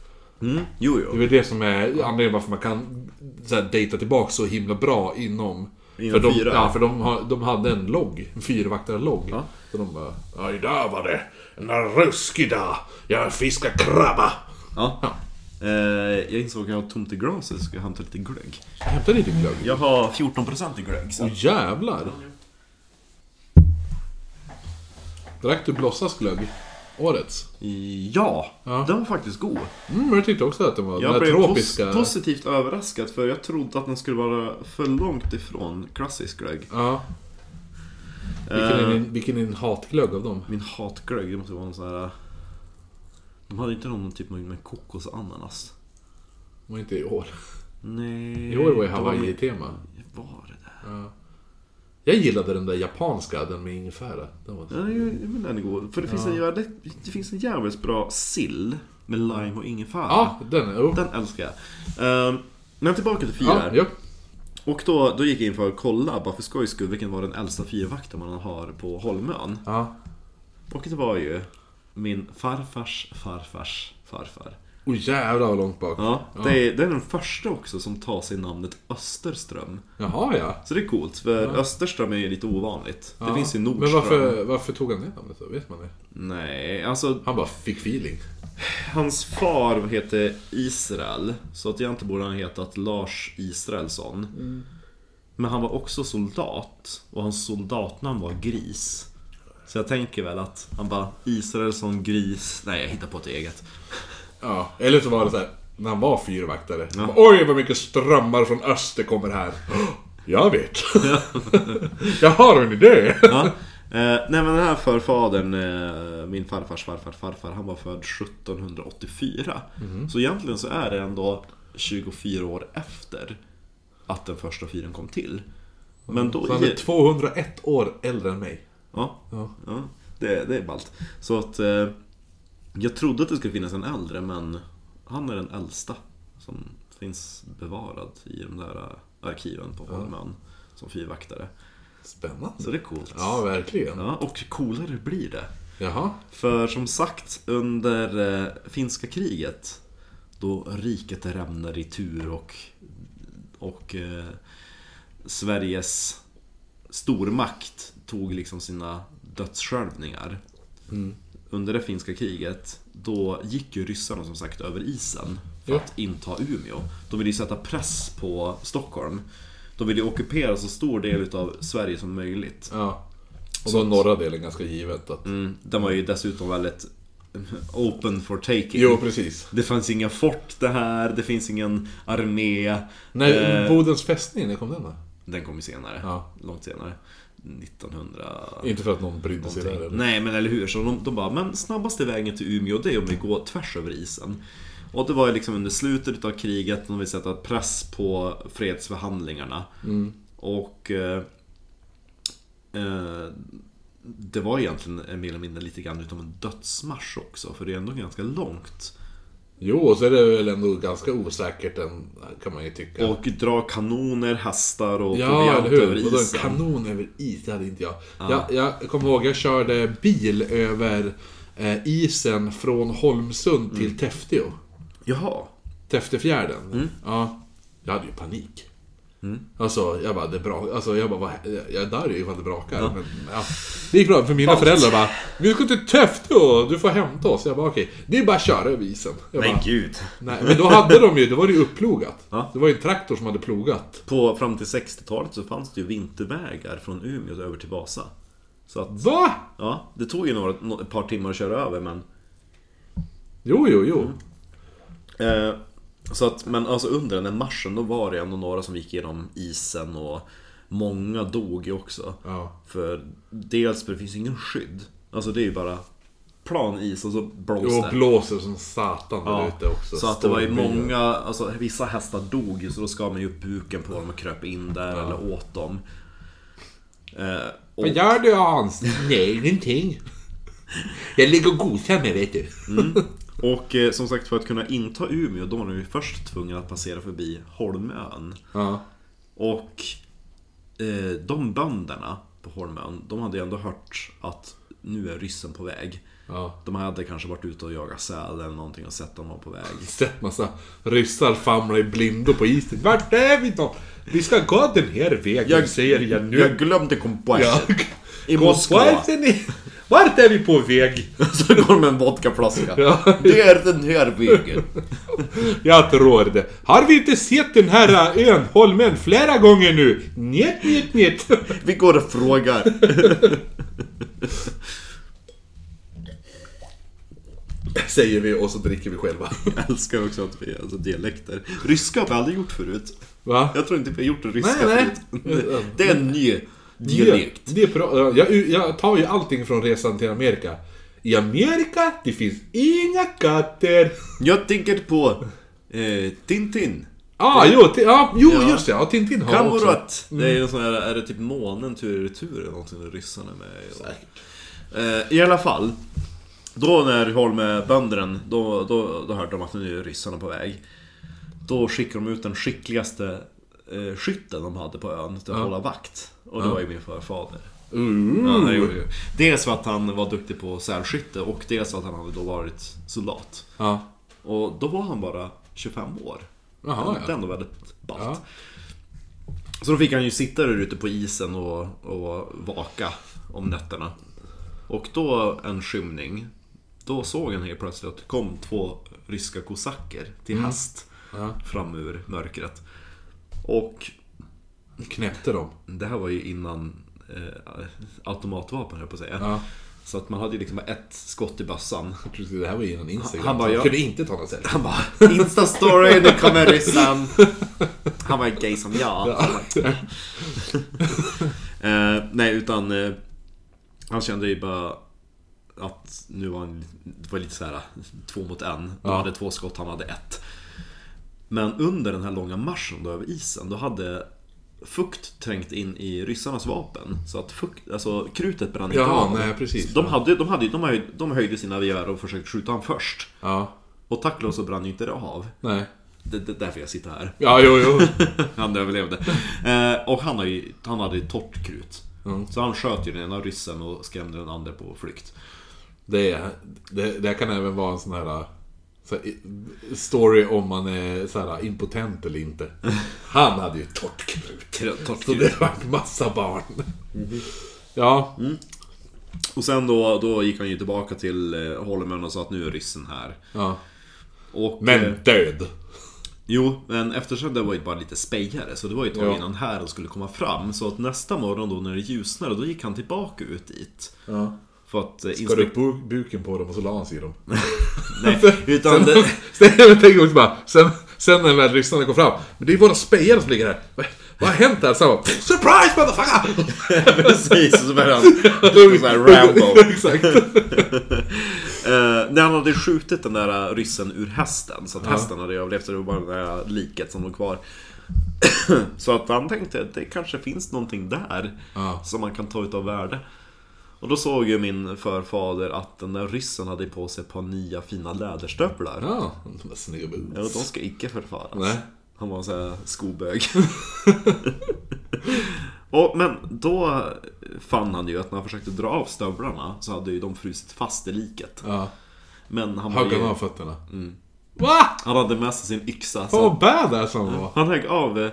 S2: Mm. Jo,
S1: Det är
S2: jo.
S1: väl det som är anledningen varför man kan så här, data tillbaka så himla bra inom...
S2: Inom
S1: för de,
S2: fyra.
S1: Ja, för de, har, de hade en logg. En fyrvaktare-logg.
S2: Ja.
S1: Så de bara... Ja, idag var det en ruskig dag. Jag fiskar krabba.
S2: Ja. Eh, jag insåg att jag har tomt i glaset så ska jag hämta lite glögg.
S1: Hämta lite glögg.
S2: Jag har 14% i glögg. Så.
S1: Åh jävlar! Drack du Blossas glögg? Årets?
S2: Ja,
S1: Ja.
S2: den var faktiskt god.
S1: Mm, jag tyckte också att den var den
S2: Jag
S1: här
S2: blev
S1: tropiska...
S2: pos- positivt överraskad för jag trodde att den skulle vara för långt ifrån klassisk glögg.
S1: ja. Vilken
S2: Eh.
S1: är, din, vilken är din hatglögg av dem?
S2: Min hatglögg, det måste vara någon sån här... De hade inte någon typ med kokos och ananas.
S1: Var inte i år.
S2: Nej.
S1: I år var ju
S2: det var-
S1: Hawaii-tema.
S2: Var det där?
S1: Ja. Jag gillade den där japanska, den med ingefära. Den var...
S2: Ja, jag, jag menar den är god. För det finns, en jävligt, det finns en jävligt bra sill med lime och ingefära.
S1: Ja, den är... Oh.
S2: Den älskar jag. Ehm, men tillbaka till fyra.
S1: Ja, ja.
S2: Och då, då gick jag in för att kolla, bara för skojs skull, vilken var den äldsta fyrvakten man har på Holmön.
S1: ja.
S2: Och det var ju min farfars farfars farfar.
S1: Oh, jävlar vad långt bak.
S2: Ja, Det, är, det är den första också som tar sig namnet Österström.
S1: Jaha, ja.
S2: Så det är coolt, för Österström är ju lite ovanligt. Det
S1: ja.
S2: finns ju Nordström.
S1: Men varför, varför tog han det namnet då? Vet man det?
S2: Nej, alltså
S1: Han bara fick feeling.
S2: hans far hette Israel. Så att egentligen borde han hetat Lars Israelsson. Men han var också soldat. Och hans soldatnamn var Gris. Så jag tänker väl att han bara Israelsson Gris. Nej, jag hittar på ett eget.
S1: Ja, eller så var det så här, när han var fyrvaktare. Ja. Oj vad mycket strömmar från öster kommer här. Jag vet. jag har en idé.
S2: Ja. Eh, nej men den här förfadern, eh, min farfars farfar farfar, han var född 1784. Så egentligen så är det ändå 24 år efter att den första fyren kom till. Men då...
S1: Så han är 201 år äldre än mig.
S2: ja,
S1: Ja.
S2: ja. det, det är ballt. Så att eh, jag trodde att det skulle finnas en äldre, men han är den äldsta som finns bevarad i de där eh, arkiven på Holmön som fyrvaktare.
S1: Spännande.
S2: Så det är coolt.
S1: Ja, verkligen.
S2: Ja, och coolare blir det.
S1: Jaha.
S2: För som sagt, under eh, finska kriget då riket rämnar i tur och, och eh, Sveriges stormakt tog liksom sina dödsskälvningar. Under det finska kriget, då gick ju ryssarna som sagt över isen för
S1: Ja.
S2: att inta Umeå. De ville ju sätta press på Stockholm. De ville ju ockupera så stor del av Sverige som möjligt.
S1: Ja. Och då norra delen ganska givet att...
S2: Mm, den var ju dessutom väldigt open for taking.
S1: Jo, precis.
S2: Det fanns inga fort det här, det finns ingen armé.
S1: När
S2: Eh,
S1: Bodens fästning, när kom den då?
S2: den kom ju senare.
S1: Ja.
S2: Långt senare. 1900...
S1: Inte för att någon brydde sig där
S2: någonting.
S1: eller?
S2: Typ. Nej men eller hur, så de, de bara men snabbaste vägen till Umeå det är om vi går tvärs över isen. Och det var ju liksom under slutet av kriget, de vill sätta press på fredsförhandlingarna.
S1: Mm.
S2: Och eh, eh, det var egentligen eh, mer eller mindre lite grann utom en dödsmarsch också, för det är ändå ganska långt.
S1: Jo, och så är det väl ändå ganska osäkert än, kan man ju tycka.
S2: Och dra kanoner, hästar och
S1: Ja,
S2: proviant
S1: eller hur?
S2: över
S1: Vadå, en
S2: isen.
S1: kanon över is? Det hade inte jag. jag. Jag kommer ihåg, jag körde bil över eh, isen från Holmsund
S2: Mm.
S1: till Täfteå.
S2: Jaha. Mm.
S1: Täftefjärden. Ja, jag hade ju panik. Alltså, jag bara, det bra. Alltså, jag bara, vad- jag- jag dör ju ifall det brakar. Men, ja. Det gick bra, för mina föräldrar bara, vi ska till Töftå, du får hämta oss. Jag bara, okej. Det är bara att köra över isen. Jag
S2: Men
S1: bara,
S2: gud.
S1: Nej, men då hade de ju, då var det ju upplogat.
S2: Ja.
S1: Det var ju en traktor som hade plogat.
S2: På, fram till 60-talet så fanns det ju vintervägar från Umeå över till Vasa. Så att,
S1: Va?
S2: ja, det tog ju några, nå- ett par timmar att köra över men...
S1: Jo, jo, jo.
S2: Mm. Eh, så att, men alltså under den där marschen, då var det ändå några som gick genom isen och många dog ju också.
S1: Ja.
S2: För dels, för det finns ju ingen skydd. Alltså det är ju bara plan is och så blåser
S1: Jo,
S2: det.
S1: blåser som satan där
S2: Ja,
S1: ute också.
S2: Så att det var ju
S1: Stormbyar.
S2: många, alltså vissa hästar dog ju så då skar man ju upp buken på dem och kröp in där eller åt dem. Eh, och,
S1: Vad gör du Hans? Nej, ingenting. Jag ligger och gosar mig, vet du.
S2: Mm. och eh, som sagt för att kunna inta Umeå då var man ju först tvungen att passera förbi Holmön.
S1: Ja.
S2: Och eh, de bönderna på Holmön, de hade ju ändå hört att nu är ryssen på väg.
S1: ja.
S2: De hade kanske varit ute och jagat säl eller någonting och sett att de var på väg.
S1: Sett massa ryssar famla i blindo på isen. Vart är vi då? Vi ska gå den här vägen, säger jag nu.
S2: jag glömde kompassen. I
S1: Gå
S2: Moskva.
S1: på isen i- Vart är vi på väg?
S2: Så går de med en vodkaflaska.
S1: Ja.
S2: Det är den här vägen.
S1: Jag tror det. Har vi inte sett den här ön, Holmen, flera gånger nu? Njet, njet, njet.
S2: Vi går och frågar.
S1: Säger vi och så dricker vi själva.
S2: Jag älskar också att vi är alltså, dialekter. Ryska har vi aldrig gjort förut.
S1: Va?
S2: Jag tror inte vi har gjort en ryska
S1: Nej, nej.
S2: förut. Det är en ny dialekt.
S1: Det, det är bra. Jag, jag tar ju allting från resan till Amerika. I Amerika, det finns inga katter.
S2: Jag tänker på eh, Tintin.
S1: Ah, jo, ti- ja, jo
S2: Ja.
S1: just det. Ja, Tintin har jag också.
S2: Kamurat. Det är en sån här, är det typ månen tur i retur eller någonting där ryssarna är med i? Eh, I alla fall. Då när Holmebönderna, då, då, då hörde de att nu är ryssarna på väg. Då skickade de ut den skickligaste eh, skytten de hade på ön till att hålla vakt. Och det var ju min förfader.
S1: Mm.
S2: Ja, det gjorde ju. Dels för att han var duktig på sälskytte och dels för att han hade då varit soldat.
S1: Ja.
S2: Och då var han bara 25 år.
S1: Jaha,
S2: det är
S1: ja.
S2: ändå väldigt ballt.
S1: Ja.
S2: Så då fick han ju sitta där ute på isen och, och vaka om nätterna. Och då en skymning, då såg han helt plötsligt att det kom två ryska kosacker till häst
S1: Mm. Ja.
S2: fram ur mörkret. Och
S1: Knäppte dem.
S2: det här var ju innan eh, automatvapen höll jag på att säga.
S1: Ja.
S2: Så att man hade ju liksom bara ett skott i bössan.
S1: Jag trodde det här var ju innan Instagram.
S2: Han bara,
S1: så
S2: ja.
S1: kunde inte ta någon selfie.
S2: Han bara Insta-story, nu kommer ryssen. Han var gay som jag. Eh, nej, utan eh, han kände ju bara att nu var han, det var lite så här två mot en. De
S1: Ja.
S2: hade två skott, han hade ett. Men under den här långa marschen då över isen, då hade fukt trängt in i ryssarnas vapen. Så att fukt, alltså krutet brann inte
S1: Jaha,
S2: av.
S1: nej, precis.
S2: De, hade, de, hade, de, höjde, de höjde sina gevär och försökte skjuta honom först.
S1: Ja.
S2: Och tack och lov så brann ju inte det av.
S1: Nej.
S2: Det, det är därför jag sitter här.
S1: Ja, jo, jo.
S2: Han överlevde. Eh, och han, har ju, han hade ju torrt krut.
S1: Mm.
S2: Så han sköt ju den ena ryssen och skrämde den andra på flykt.
S1: Det, är, det, det kan även vara en sån här, så här story om man är så här, impotent eller inte. Han hade ju torrt krut.
S2: Kr- Torrt
S1: Så
S2: krut.
S1: det var massa barn.
S2: Mhm.
S1: Ja,
S2: Mm. Och sen då, då gick han ju tillbaka till eh, Holmen och sa att nu är ryssen här.
S1: ja.
S2: Och, Eh,
S1: Men död.
S2: jo, men eftersom det var ju bara lite spejare så det var ju ett tag
S1: Ja.
S2: innan hären skulle komma fram. Så att nästa morgon då när det ljusnade, då gick han tillbaka ut dit.
S1: Ja.
S2: För att... eh,
S1: Skar
S2: inspek-
S1: upp bu- buken på dem och så la han sig i dem.
S2: Nej, utan...
S1: Sen,
S2: det-
S1: sen, tänk också bara, sen, sen när väl ryssarna kom fram. Men det är ju våra spejare som ligger här. Vad, vad har hänt här? Så han bara, Surprise motherfucker!
S2: Precis, och så började han... Så här Rambo.
S1: Exakt.
S2: Eh, när han hade skjutit den där ryssen ur hästen, så att hästen hade överlevt, så det var bara det där liket som låg kvar. så att han tänkte att det kanske finns någonting där
S1: Ja.
S2: som man kan ta utav värde. Och då såg ju min förfader att den där ryssen hade på sig ett par nya fina läderstövlar.
S1: Ja, de där snygga
S2: Ja,
S1: boots.
S2: de ska icke förfaras.
S1: Nej.
S2: Han var såhär skobög. och, men då fann han ju att när han försökte dra av stövlarna så hade ju de frusit fast i liket.
S1: Ja.
S2: Men han var
S1: Högg
S2: ju...
S1: han av fötterna? Va?
S2: Han hade med sig sin yxa.
S1: Fan
S2: Mm. Så
S1: vad badass han var!
S2: han högg av eh,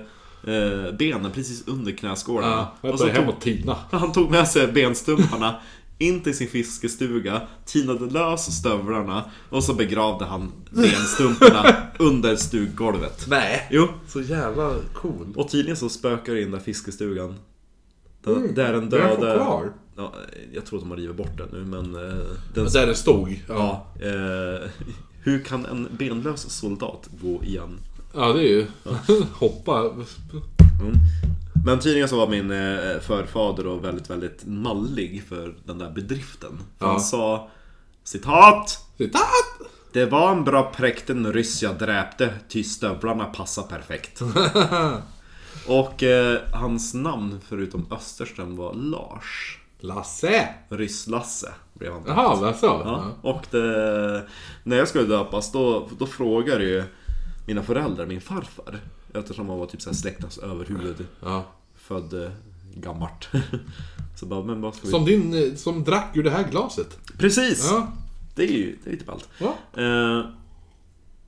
S2: eh, benen precis under knäskålarna.
S1: Ja, jag
S2: och så
S1: börjar hem
S2: tog,
S1: och tina.
S2: han tog med sig benstumparna in till sin fiskestuga, tinade lös stövlarna och så begravde han benstumparna under stuggolvet.
S1: Nej.
S2: Jo,
S1: Så jävla cool.
S2: och tydligen så spökar det in där fiskestugan. Där,
S1: Mm,
S2: där den
S1: den är
S2: döde...
S1: kvar.
S2: Ja, jag tror att de har rivit bort den nu men... eh, Den,
S1: Där det stod. Ja.
S2: ja, eh, hur kan en benlös soldat gå igen?
S1: Ja, det är ju... Hoppa.
S2: Mm. Men tydligen så var min eh, förfader då väldigt, väldigt mallig för den där bedriften. För
S1: Ja.
S2: Han sa citat
S1: Citat!
S2: Det var en bra präkten ryss jag dräpte, ty stövlarna passar perfekt. Och eh, hans namn förutom Österström var Lars.
S1: Lasse!
S2: Ryss-Lasse blev han.
S1: Jaha, vad så?
S2: Ja.
S1: Ja.
S2: Och det, när jag skulle döpas då, då frågade ju mina föräldrar min farfar. Eftersom han var typ såhär släktens överhuvud.
S1: Ja.
S2: Född eh, gammalt. Så bara, men vad ska vi...
S1: Som din... eh, Som drack ur det här glaset.
S2: Precis!
S1: Ja.
S2: Det är ju det är ju typ allt.
S1: ja.
S2: Eh,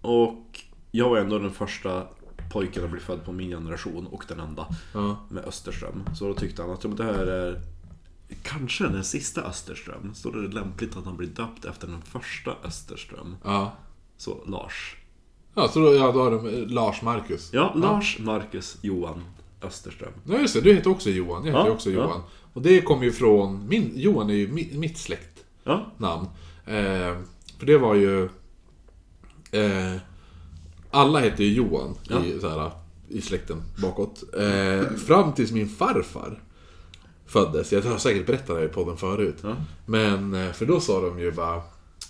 S2: och jag var ändå den första pojken att bli född på min generation och den enda.
S1: Ja.
S2: Med Österström. Så då tyckte han att ja, men det här är kanske den sista Österström. Så då är det lämpligt att han blir döpt efter den första Österström.
S1: Ja.
S2: Så Lars.
S1: Ja, så då, ja, då har de eh, Lars Marcus.
S2: Ja, Lars Marcus Johan Österström.
S1: Ja, just det. Du heter också Johan. Jag heter
S2: Ja,
S1: också
S2: ja.
S1: Johan. Och det kommer ju från... Min, Johan är ju mi, mitt släkt.
S2: Ja,
S1: namn. Eh, för det var ju... Eh, alla hette ju Johan i, så här, i släkten bakåt. Eh, fram tills min farfar föddes. Jag har säkert berättat det här i podden förut.
S2: Ja.
S1: Men, eh, för då sa de ju bara...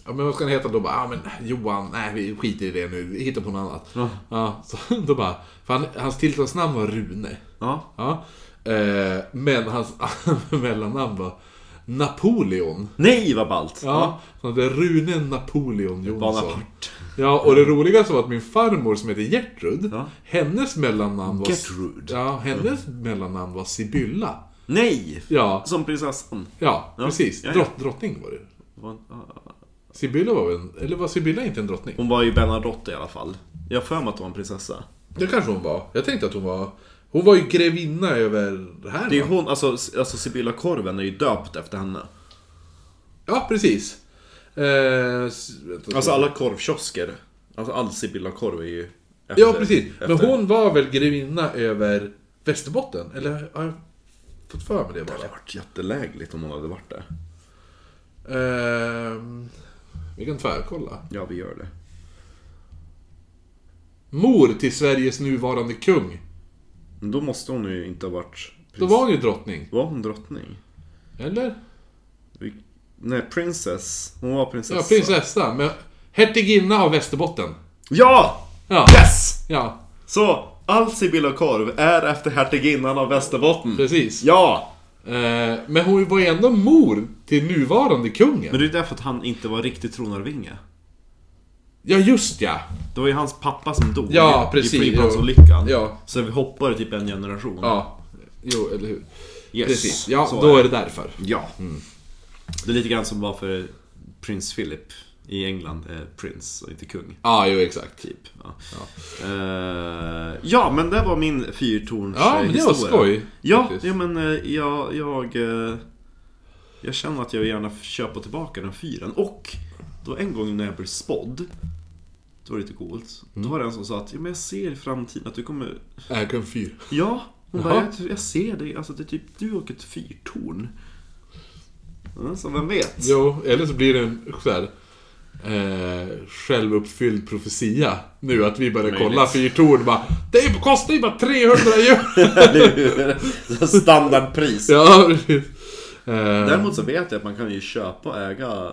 S1: Ja men vad ska han heta? Då bara, ja men Johan, nej vi skiter i det nu, vi hittar på något annat.
S2: Ja.
S1: så, då bara, för han, hans tilltalsnamn var Rune.
S2: ja.
S1: Ja. Eh, men hans mellannamn var Napoleon.
S2: Nej vad ballt!
S1: Ja, så det är Rune Napoleon Jonsson.
S2: Bonaparte.
S1: Ja, och det roligaste var att min farmor som heter Gertrud,
S2: Ja.
S1: hennes mellannamn var...
S2: Gertrud.
S1: Ja, hennes mellannamn var Sibylla.
S2: Nej!
S1: Ja,
S2: Som prinsessan.
S1: ja,
S2: Ja,
S1: precis.
S2: ja, ja.
S1: Drott, drottning var det.
S2: Vad-
S1: Sibylla var väl en... Eller var Sibylla inte en drottning?
S2: Hon var ju Bernadotte i alla fall. Jag har för mig att hon var en prinsessa.
S1: Det kanske hon var. Jag tänkte att hon var... Hon var ju grevinna över det här.
S2: Det är ju
S1: va?
S2: hon, alltså, alltså Sibylla Korven är ju döpt efter henne.
S1: Alltså, Ja, precis. Eh, s- vänta,
S2: Alltså
S1: så-
S2: alla korvkiosker. Alltså all Sibylla Korv är ju efter,
S1: Ja, precis. Men
S2: efter-
S1: hon var väl grevinna över Västerbotten? Eller har jag fått för mig det
S2: Det
S1: bara?
S2: hade varit jättelägligt om hon hade varit det.
S1: Ehm, vi kan tvärkolla.
S2: Ja, vi gör det.
S1: Mor till Sveriges nuvarande kung.
S2: Men då måste hon ju inte ha varit... Prins...
S1: Då var hon ju drottning.
S2: Var hon drottning?
S1: Eller?
S2: Vi... Nej, princess. Hon var prinsessa.
S1: Ja, prinsessa. Men hertiginna av Västerbotten.
S2: Ja!
S1: Ja.
S2: Yes!
S1: Ja,
S2: Så, all Sibylla Korv är efter hertiginnan av Västerbotten.
S1: precis.
S2: Ja!
S1: Ehm, men hon var ju ändå mor till nuvarande
S2: Men
S1: kungen.
S2: det är därför att han inte var riktig tronarvinge.
S1: Ja, just ja.
S2: Det var ju hans pappa som dog
S1: Ja,
S2: i-
S1: precis.
S2: i flygplansolyckan.
S1: Ja.
S2: Så vi hoppade typ en generation.
S1: Ja. Jo, eller hur.
S2: Yes.
S1: Precis. Ja,
S2: Så
S1: då
S2: är
S1: är
S2: det.
S1: det Mm. därför.
S2: Ja. Det är lite grann som bara för prins Philip i England är prins och inte kung.
S1: Ja, jo, exakt.
S2: Typ. Ja. Ja. ja, men det var min fyrtorns eh,
S1: Ja, men det var
S2: historia.
S1: skoj,
S2: Ja,
S1: faktiskt.
S2: ja men eh, jag, jag, eh, jag känner att jag vill gärna köpa tillbaka den fyren. Och då en gång när jag blev spådd, det var lite coolt.
S1: Mm.
S2: Då var det en som sa att ja, men jag ser i framtiden att du kommer
S1: Äh, kung fyr.
S2: Ja, hon
S1: Jaha.
S2: bara, jag, jag ser dig. Alltså, det är typ du och ett fyrtorn. Ja, så vem vet?
S1: Jo, eller så blir det en så här, eh, självuppfylld profetia nu att vi börjar
S2: Möjligt.
S1: kolla fyrtorn bara Det kostar ju bara 300 euro!
S2: Eller hur? Så Standardpris.
S1: ja, precis. Eh,
S2: Däremot så vet jag att man kan ju köpa och äga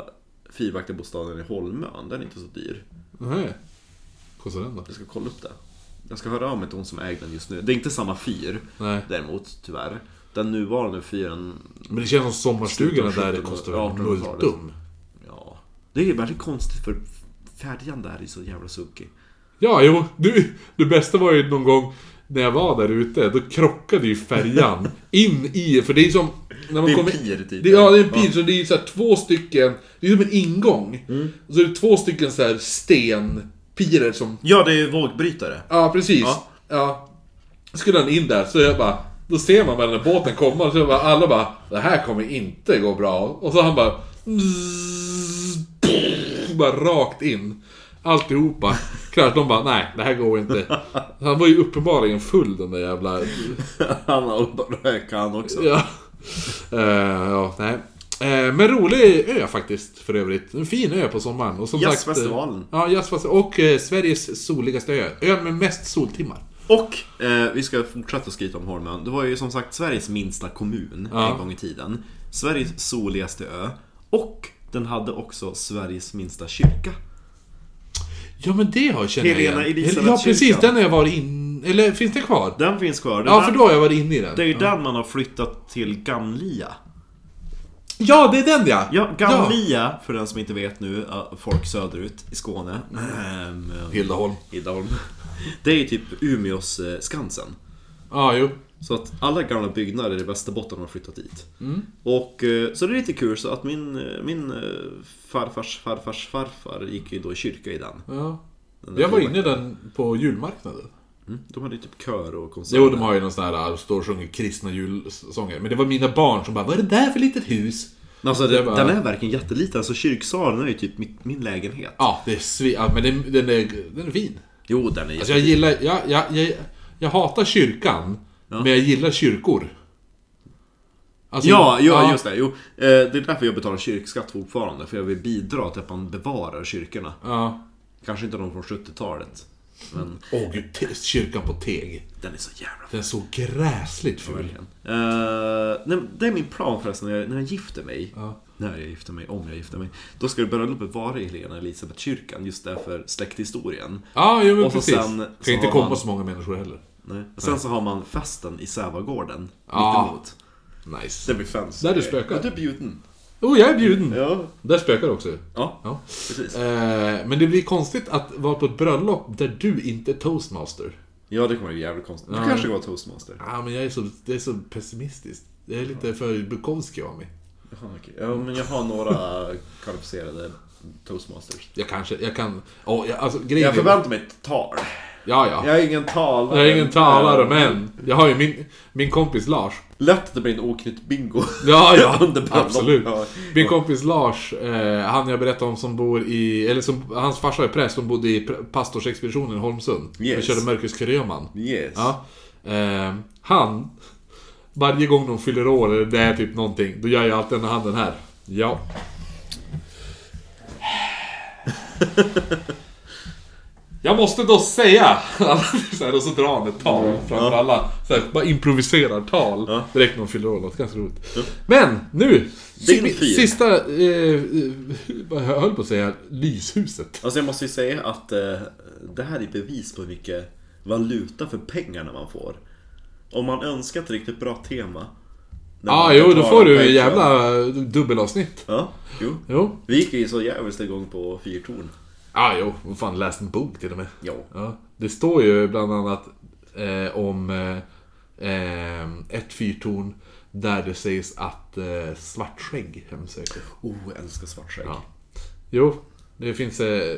S2: fyrvaktarbostaden i Holmön. Den är inte så dyr.
S1: nej. Kostar den då?
S2: Jag ska kolla upp det. Jag ska höra av mig till hon som äger den just nu. Det är inte samma fyr
S1: Nej.
S2: däremot, tyvärr. Den nuvarande fyren,
S1: Men det känns som sommarstugorna
S2: Slutet av
S1: där det
S2: 1700-
S1: kostar väl
S2: 1800-talet.
S1: multum.
S2: ja. Det är ju väldigt konstigt för färjan där är ju så jävla sunkig.
S1: Ja, jo. Du, det bästa var ju någon gång när jag var där ute, då krockade ju färjan in i... För det är ju som... När man
S2: Det är en
S1: kommer-
S2: pir, typ.
S1: det, Ja, det är en pir. Så det är ju så här två stycken... Det är som en ingång. Och så är det två stycken så här stenpirer som...
S2: Ja, det är ju vågbrytare.
S1: Ja, precis.
S2: Ja.
S1: Ja. skulle han in där, så jag bara... Då ser man bara den där båten komma, så jag bara, alla bara Det här kommer inte gå bra. Och så han bara... "Zzz, pff", bara rakt in. Alltihopa. Klart, de bara, nej, det här går inte. Han var ju uppenbarligen full den där jävla...
S2: Han har bara röka han också.
S1: Ja. Eh, ja, nej. Eh, men rolig ö faktiskt, för övrigt. En fin ö på sommaren. Och som sagt... eh,
S2: Jazzfestivalen.
S1: Ja, jazzfestivalen. Och eh, Sveriges soligaste ö. Ön med mest soltimmar.
S2: Och eh, vi ska fortsätta skryta om Holmön. Det var ju som sagt Sveriges minsta kommun
S1: Ja.
S2: en gång i tiden. Sveriges soligaste ö. Och den hade också Sveriges minsta kyrka.
S1: Ja men det har jag känner jag
S2: Helena
S1: igen.
S2: Elisabeth
S1: Ja precis,
S2: kyrkan.
S1: den har jag varit in... Eller finns den kvar?
S2: Den finns kvar. Det,
S1: Ja
S2: där,
S1: för då har jag varit inne i den.
S2: det är ju den man har flyttat till Gamlia.
S1: Ja det är den ja!
S2: Ja, Gamlia, för den som inte vet nu, äh, folk söderut i Skåne. Ehm,
S1: Hildaholm.
S2: Hildaholm. Det är ju typ Umeås eh, Skansen.
S1: Ja jo.
S2: Så att alla gamla byggnader i Västerbotten har flyttat dit.
S1: Mm.
S2: Och, eh, så det är lite kul, så att min, eh, min eh, farfars farfars farfar gick ju då i kyrka i den.
S1: Ja.
S2: den där
S1: Jag var
S2: filmen.
S1: inne i den på julmarknaden.
S2: Mm. De hade ju typ kör och konserter.
S1: Jo de har ju någon sån här, står och sjunger kristna julsånger. Men det var mina barn som bara Vad är det där för litet hus?
S2: Men Alltså,
S1: Det
S2: det,
S1: var-
S2: Den är verkligen jätteliten, alltså kyrksalen är ju typ mitt, min lägenhet.
S1: Ja, det är svi... Ja, men den, den, är, den är fin.
S2: Jo, den är
S1: Alltså jag gillar... Jag, jag, jag, jag hatar kyrkan. Men jag gillar kyrkor. Alltså,
S2: Ja, ja, just det. Jo, eh, det är därför jag betalar kyrkskatt fortfarande, för jag vill bidra till att man bevarar kyrkorna.
S1: Ja.
S2: Kanske inte de från 70-talet, men
S1: Åh gud, te- kyrkan på Teg.
S2: den är så jävla
S1: Den såg gräsligt ful ut.
S2: verkligen. Eh, nej, men det är min plan förresten, när jag, när jag gifter mig.
S1: Ja.
S2: När jag gifter mig, om jag gifter mig. Då ska bröllopet vara i Helena Elisabethkyrkan, just därför släkthistorien.
S1: Ja, jo, men
S2: Och så
S1: precis.
S2: sen
S1: Kan
S2: så
S1: inte
S2: har
S1: komma
S2: man-
S1: så många människor heller.
S2: Nej. Och sen så har man festen i Sävagården,
S1: Ja.
S2: mittemot.
S1: Nice.
S2: Det blir fest.
S1: Där du spökar.
S2: Ja, Du är bjuden.
S1: Oh, jag är bjuden!
S2: Ja.
S1: Där spökar det också.
S2: Ja,
S1: Ja.
S2: precis.
S1: Eh, men det blir konstigt att vara på ett bröllop där du inte är toastmaster.
S2: Ja, det kommer bli jävligt konstigt. Du
S1: Ja.
S2: kanske var toastmaster.
S1: Ja, men jag är så, det är så pessimistiskt. Det är lite för Bukowski av mig.
S2: Jaha, okej. Ja, men jag har några kvalificerade toastmasters.
S1: Jag kanske, jag kan... Oh, jag, alltså, grejen
S2: Jag
S1: är-
S2: förväntar mig ett tal.
S1: Ja, ja.
S2: Jag är ingen talare. eh,
S1: Jag är ingen talare, men jag har ju min, min kompis Lars.
S2: Lätt att det blir en oknytt bingo.
S1: Ja, ja.
S2: Under bröllop.
S1: absolut.
S2: Ja.
S1: Min kompis Lars, eh, han jag berättade om som bor i... Eller som, hans farsa är präst, de bodde i pr- pastorsexpeditionen i Holmsund.
S2: Yes.
S1: Och körde Merkus Kröman.
S2: Yes.
S1: Ja. Eh, han, varje gång de fyller år eller det är typ någonting, då gör jag alltid den här handen här. Ja. Jag måste då säga, så här, och så drar han ett tal framför alla. Så här, bara improviserar tal
S2: Ja.
S1: direkt när de fyller år. Något ganska roligt. Men nu!
S2: Din
S1: si-
S2: fil.
S1: sista, eh, vad jag höll på att säga, lyshuset.
S2: Alltså jag måste ju säga att eh, det här är bevis på mycket valuta för pengarna man får. Om man önskar ett riktigt bra tema. när
S1: Ja, ah,
S2: man
S1: jo, då
S2: betalar
S1: får du
S2: pengar.
S1: jävla dubbelavsnitt.
S2: Ja, jo.
S1: Jo.
S2: Vi gick ju så jävligt igång på fyrtorn.
S1: Ja, ah, jo. Vad fan, läst en bok till och med.
S2: Jo.
S1: Ja. Det står ju bland annat eh, om eh, eh, ett fyrtorn där det sägs att eh, svartskägg hemsöker.
S2: Oh, jag älskar svartskägg.
S1: Ja. Jo, det finns... Eh,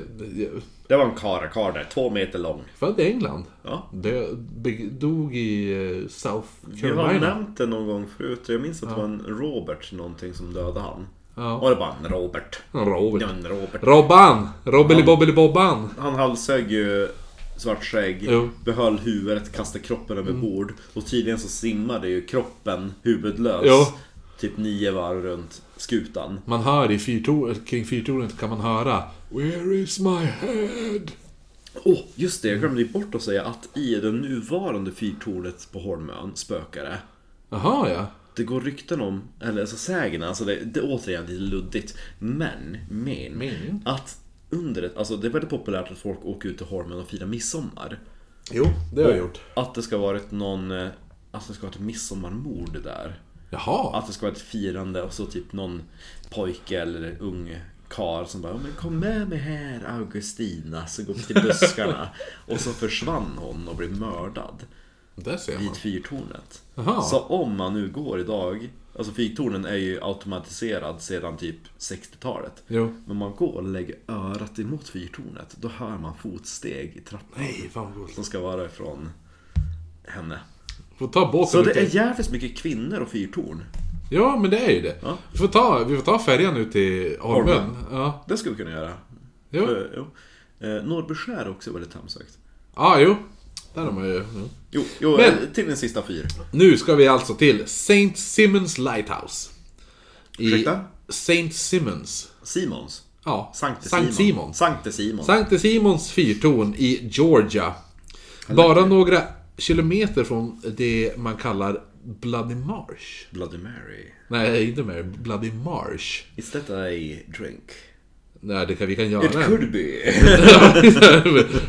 S2: Det var en karakar där, två meter lång.
S1: född i England.
S2: Ja.
S1: Dö, be, dog i eh, South
S2: Vi har
S1: Carolina.
S2: nämnt det någon gång förut. Jag minns att det var en Robert någonting som dödade han.
S1: Ja.
S2: Och det var en Robert. Ja,
S1: Robert.
S2: en Robert.
S1: Robban! Robbeli-bobbeli-bobban!
S2: Han halshögg ju svart skägg,
S1: Jo. Mm.
S2: behöll huvudet, kastade kroppen över bord. Och tydligen så simmade ju kroppen huvudlös.
S1: Jo.
S2: Typ nio varv runt skutan.
S1: Man hör i fyrtor, kring fyrtornet kan man höra Where is my head?
S2: Åh, just det. Jag glömde ju bort att säga att i det nuvarande fyrtornet på Holmön spökar det.
S1: Jaha ja.
S2: Det går rykten om, eller alltså sägnen, alltså det, det är återigen lite luddigt. Men, men,
S1: Men.
S2: att under ett, alltså det är väldigt populärt att folk åker ut till Holmen och firar midsommar.
S1: Jo, det har jag gjort.
S2: Att det ska ha varit någon, eh, att det ska ha varit ett midsommarmord där.
S1: Jaha.
S2: Att det ska vara ett firande och så typ någon pojke eller ung karl som bara "Ja, men kom med mig här Augustina så går vi till buskarna och så försvann hon och blev mördad
S1: Där ser man.
S2: vid fyrtornet.
S1: Jaha.
S2: Så om man nu går idag, alltså fyrtornen är ju automatiserad sedan typ 60-talet.
S1: Jo.
S2: Men man går och lägger örat emot fyrtornet, då hör man fotsteg i trappan.
S1: Nej, fan vad coolt.
S2: Som ska vara ifrån henne.
S1: Får ta båten
S2: Så det
S1: ut
S2: är jävligt mycket kvinnor och fyrtorn.
S1: Ja, men det är ju det.
S2: Ja.
S1: Vi, får ta, vi får ta färjan ut till Holmen.
S2: Holmen.
S1: Ja.
S2: Det skulle vi kunna göra.
S1: Jo.
S2: För, jo. Eh, Norrbyskär är också väldigt hemsökt.
S1: Ah, jo. Där har man ju... ja.
S2: Jo, jo
S1: Men-
S2: eh, till den sista fyr.
S1: Nu ska vi alltså till St. Simons Lighthouse. I
S2: Ursäkta?
S1: St. Simons.
S2: Simons.
S1: Ja.
S2: Sankte
S1: Sankt
S2: Simon.
S1: Simon.
S2: Sankte Simon.
S1: Sankte Simons fyrtorn i Georgia. Bara några kilometer från det man kallar Bloody Marsh.
S2: Bloody Mary.
S1: Nej, inte mer. Bloody Marsh.
S2: Is that a drink?
S1: Nej, det kan, vi kan göra
S2: It
S1: en.
S2: could be.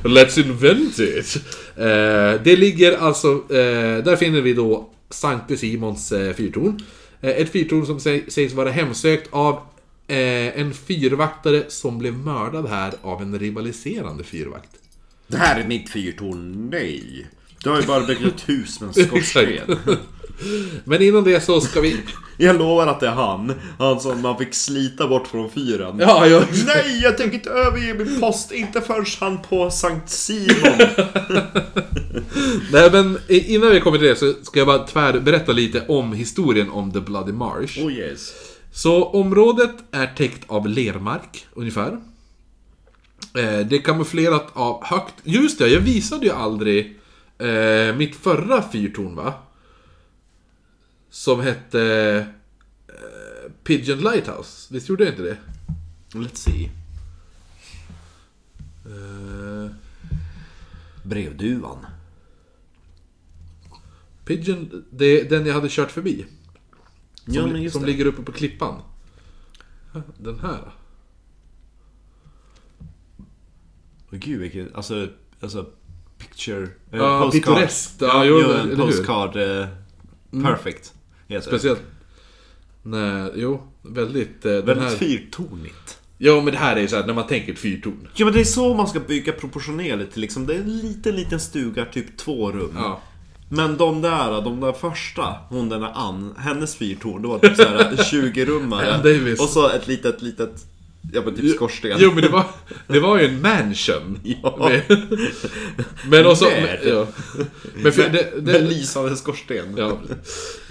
S1: Let's invent it! Eh, det ligger alltså, eh, där finner vi då Sankte Simons eh, fyrtorn. Eh, ett fyrtorn som sä- sägs vara hemsökt av eh, en fyrvaktare som blev mördad här av en rivaliserande fyrvakt.
S2: det här är mitt fyrtorn. Nej. Du har ju bara byggt ett hus med en skorsten.
S1: Men innan det så ska vi...
S2: Jag lovar att det är han. Han som man fick slita bort från fyren.
S1: Ja, jag...
S2: Nej, jag tänker inte överge min post. Inte förrän han på Sankt Simon.
S1: Nej, men innan vi kommer till det så ska jag bara tvärberätta lite om historien om The Bloody Marsh.
S2: Oh yes.
S1: Så området är täckt av lermark, ungefär. Eh, Det är kamouflerat av högt... Just det, jag visade ju aldrig eh, mitt förra fyrtorn, va? Som hette... eh, Pigeon Lighthouse. Visst gjorde jag inte det?
S2: Let's see.
S1: Eh,
S2: Brevduvan.
S1: Pigeon... Det är den jag hade kört förbi. Som,
S2: Ja, men just
S1: som
S2: det.
S1: ligger uppe på klippan. Den här.
S2: Åh, gud vilken, alltså, alltså picture... eh,
S1: Ja,
S2: postcard.
S1: pittoreskt. Ah, Ja,
S2: Ja,
S1: jo,
S2: jo,
S1: eller
S2: en
S1: hur? Mm.
S2: postcard. Eh, perfect. Heter det.
S1: Speciellt... Nej, jo. Väldigt... eh, Den
S2: Väldigt
S1: här...
S2: fyrtornigt.
S1: Jo, men det här är ju såhär, när man tänker ett fyrtorn.
S2: Ja men det är så man ska bygga proportionerligt liksom. Det är en liten, liten stuga, typ två rum.
S1: Ja.
S2: Men de där, de där första, hon den där Ann, hennes fyrtorn, det var typ såhär 20-rummare.
S1: Ann Davis.
S2: Och så ett litet, litet, ja men typ skorsten.
S1: Jo men det var, det var ju en mansion.
S2: Ja.
S1: Men, men också...
S2: Där. typ.
S1: Men, ja. men för, det,
S2: Med
S1: det,
S2: lysande skorsten.
S1: ja.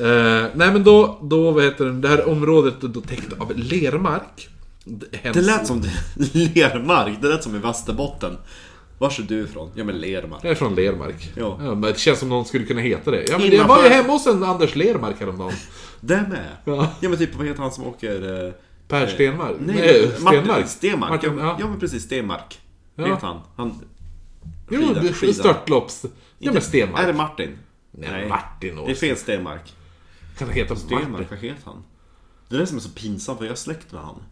S1: Eh, nej men då, då, vad heter det, det här området är då täckt av lermark. Hens-
S2: Det lät som lermark, det lät som i Västerbotten. Vars är du ifrån? Ja men Lermark.
S1: Jag är från Lermark.
S2: Ja.
S1: men det känns som någon skulle kunna heta det. Ja, men jag
S2: Innanför-
S1: var ju hemma hos en Anders Lermark häromdagen.
S2: Det med.
S1: Ja.
S2: Ja men typ vad heter han som åker... eh,
S1: Per Stenmark.
S2: Nej, Martin
S1: Stenmark.
S2: Stenmark.
S1: Martin,
S2: ja.
S1: ja.
S2: ja men precis, Stenmark.
S1: Ja.
S2: Det heter han. han
S1: Jo,
S2: skida-
S1: det-
S2: skida.
S1: störtlopps... Ja men Stenmark.
S2: Är det Martin?
S1: Nej, Martin
S2: Det är
S1: Ås.
S2: fel Stenmark.
S1: Kan det heta Martin?
S2: Stenmark, vad heter han? Det är det som är så pinsamt för jag är släkt med han.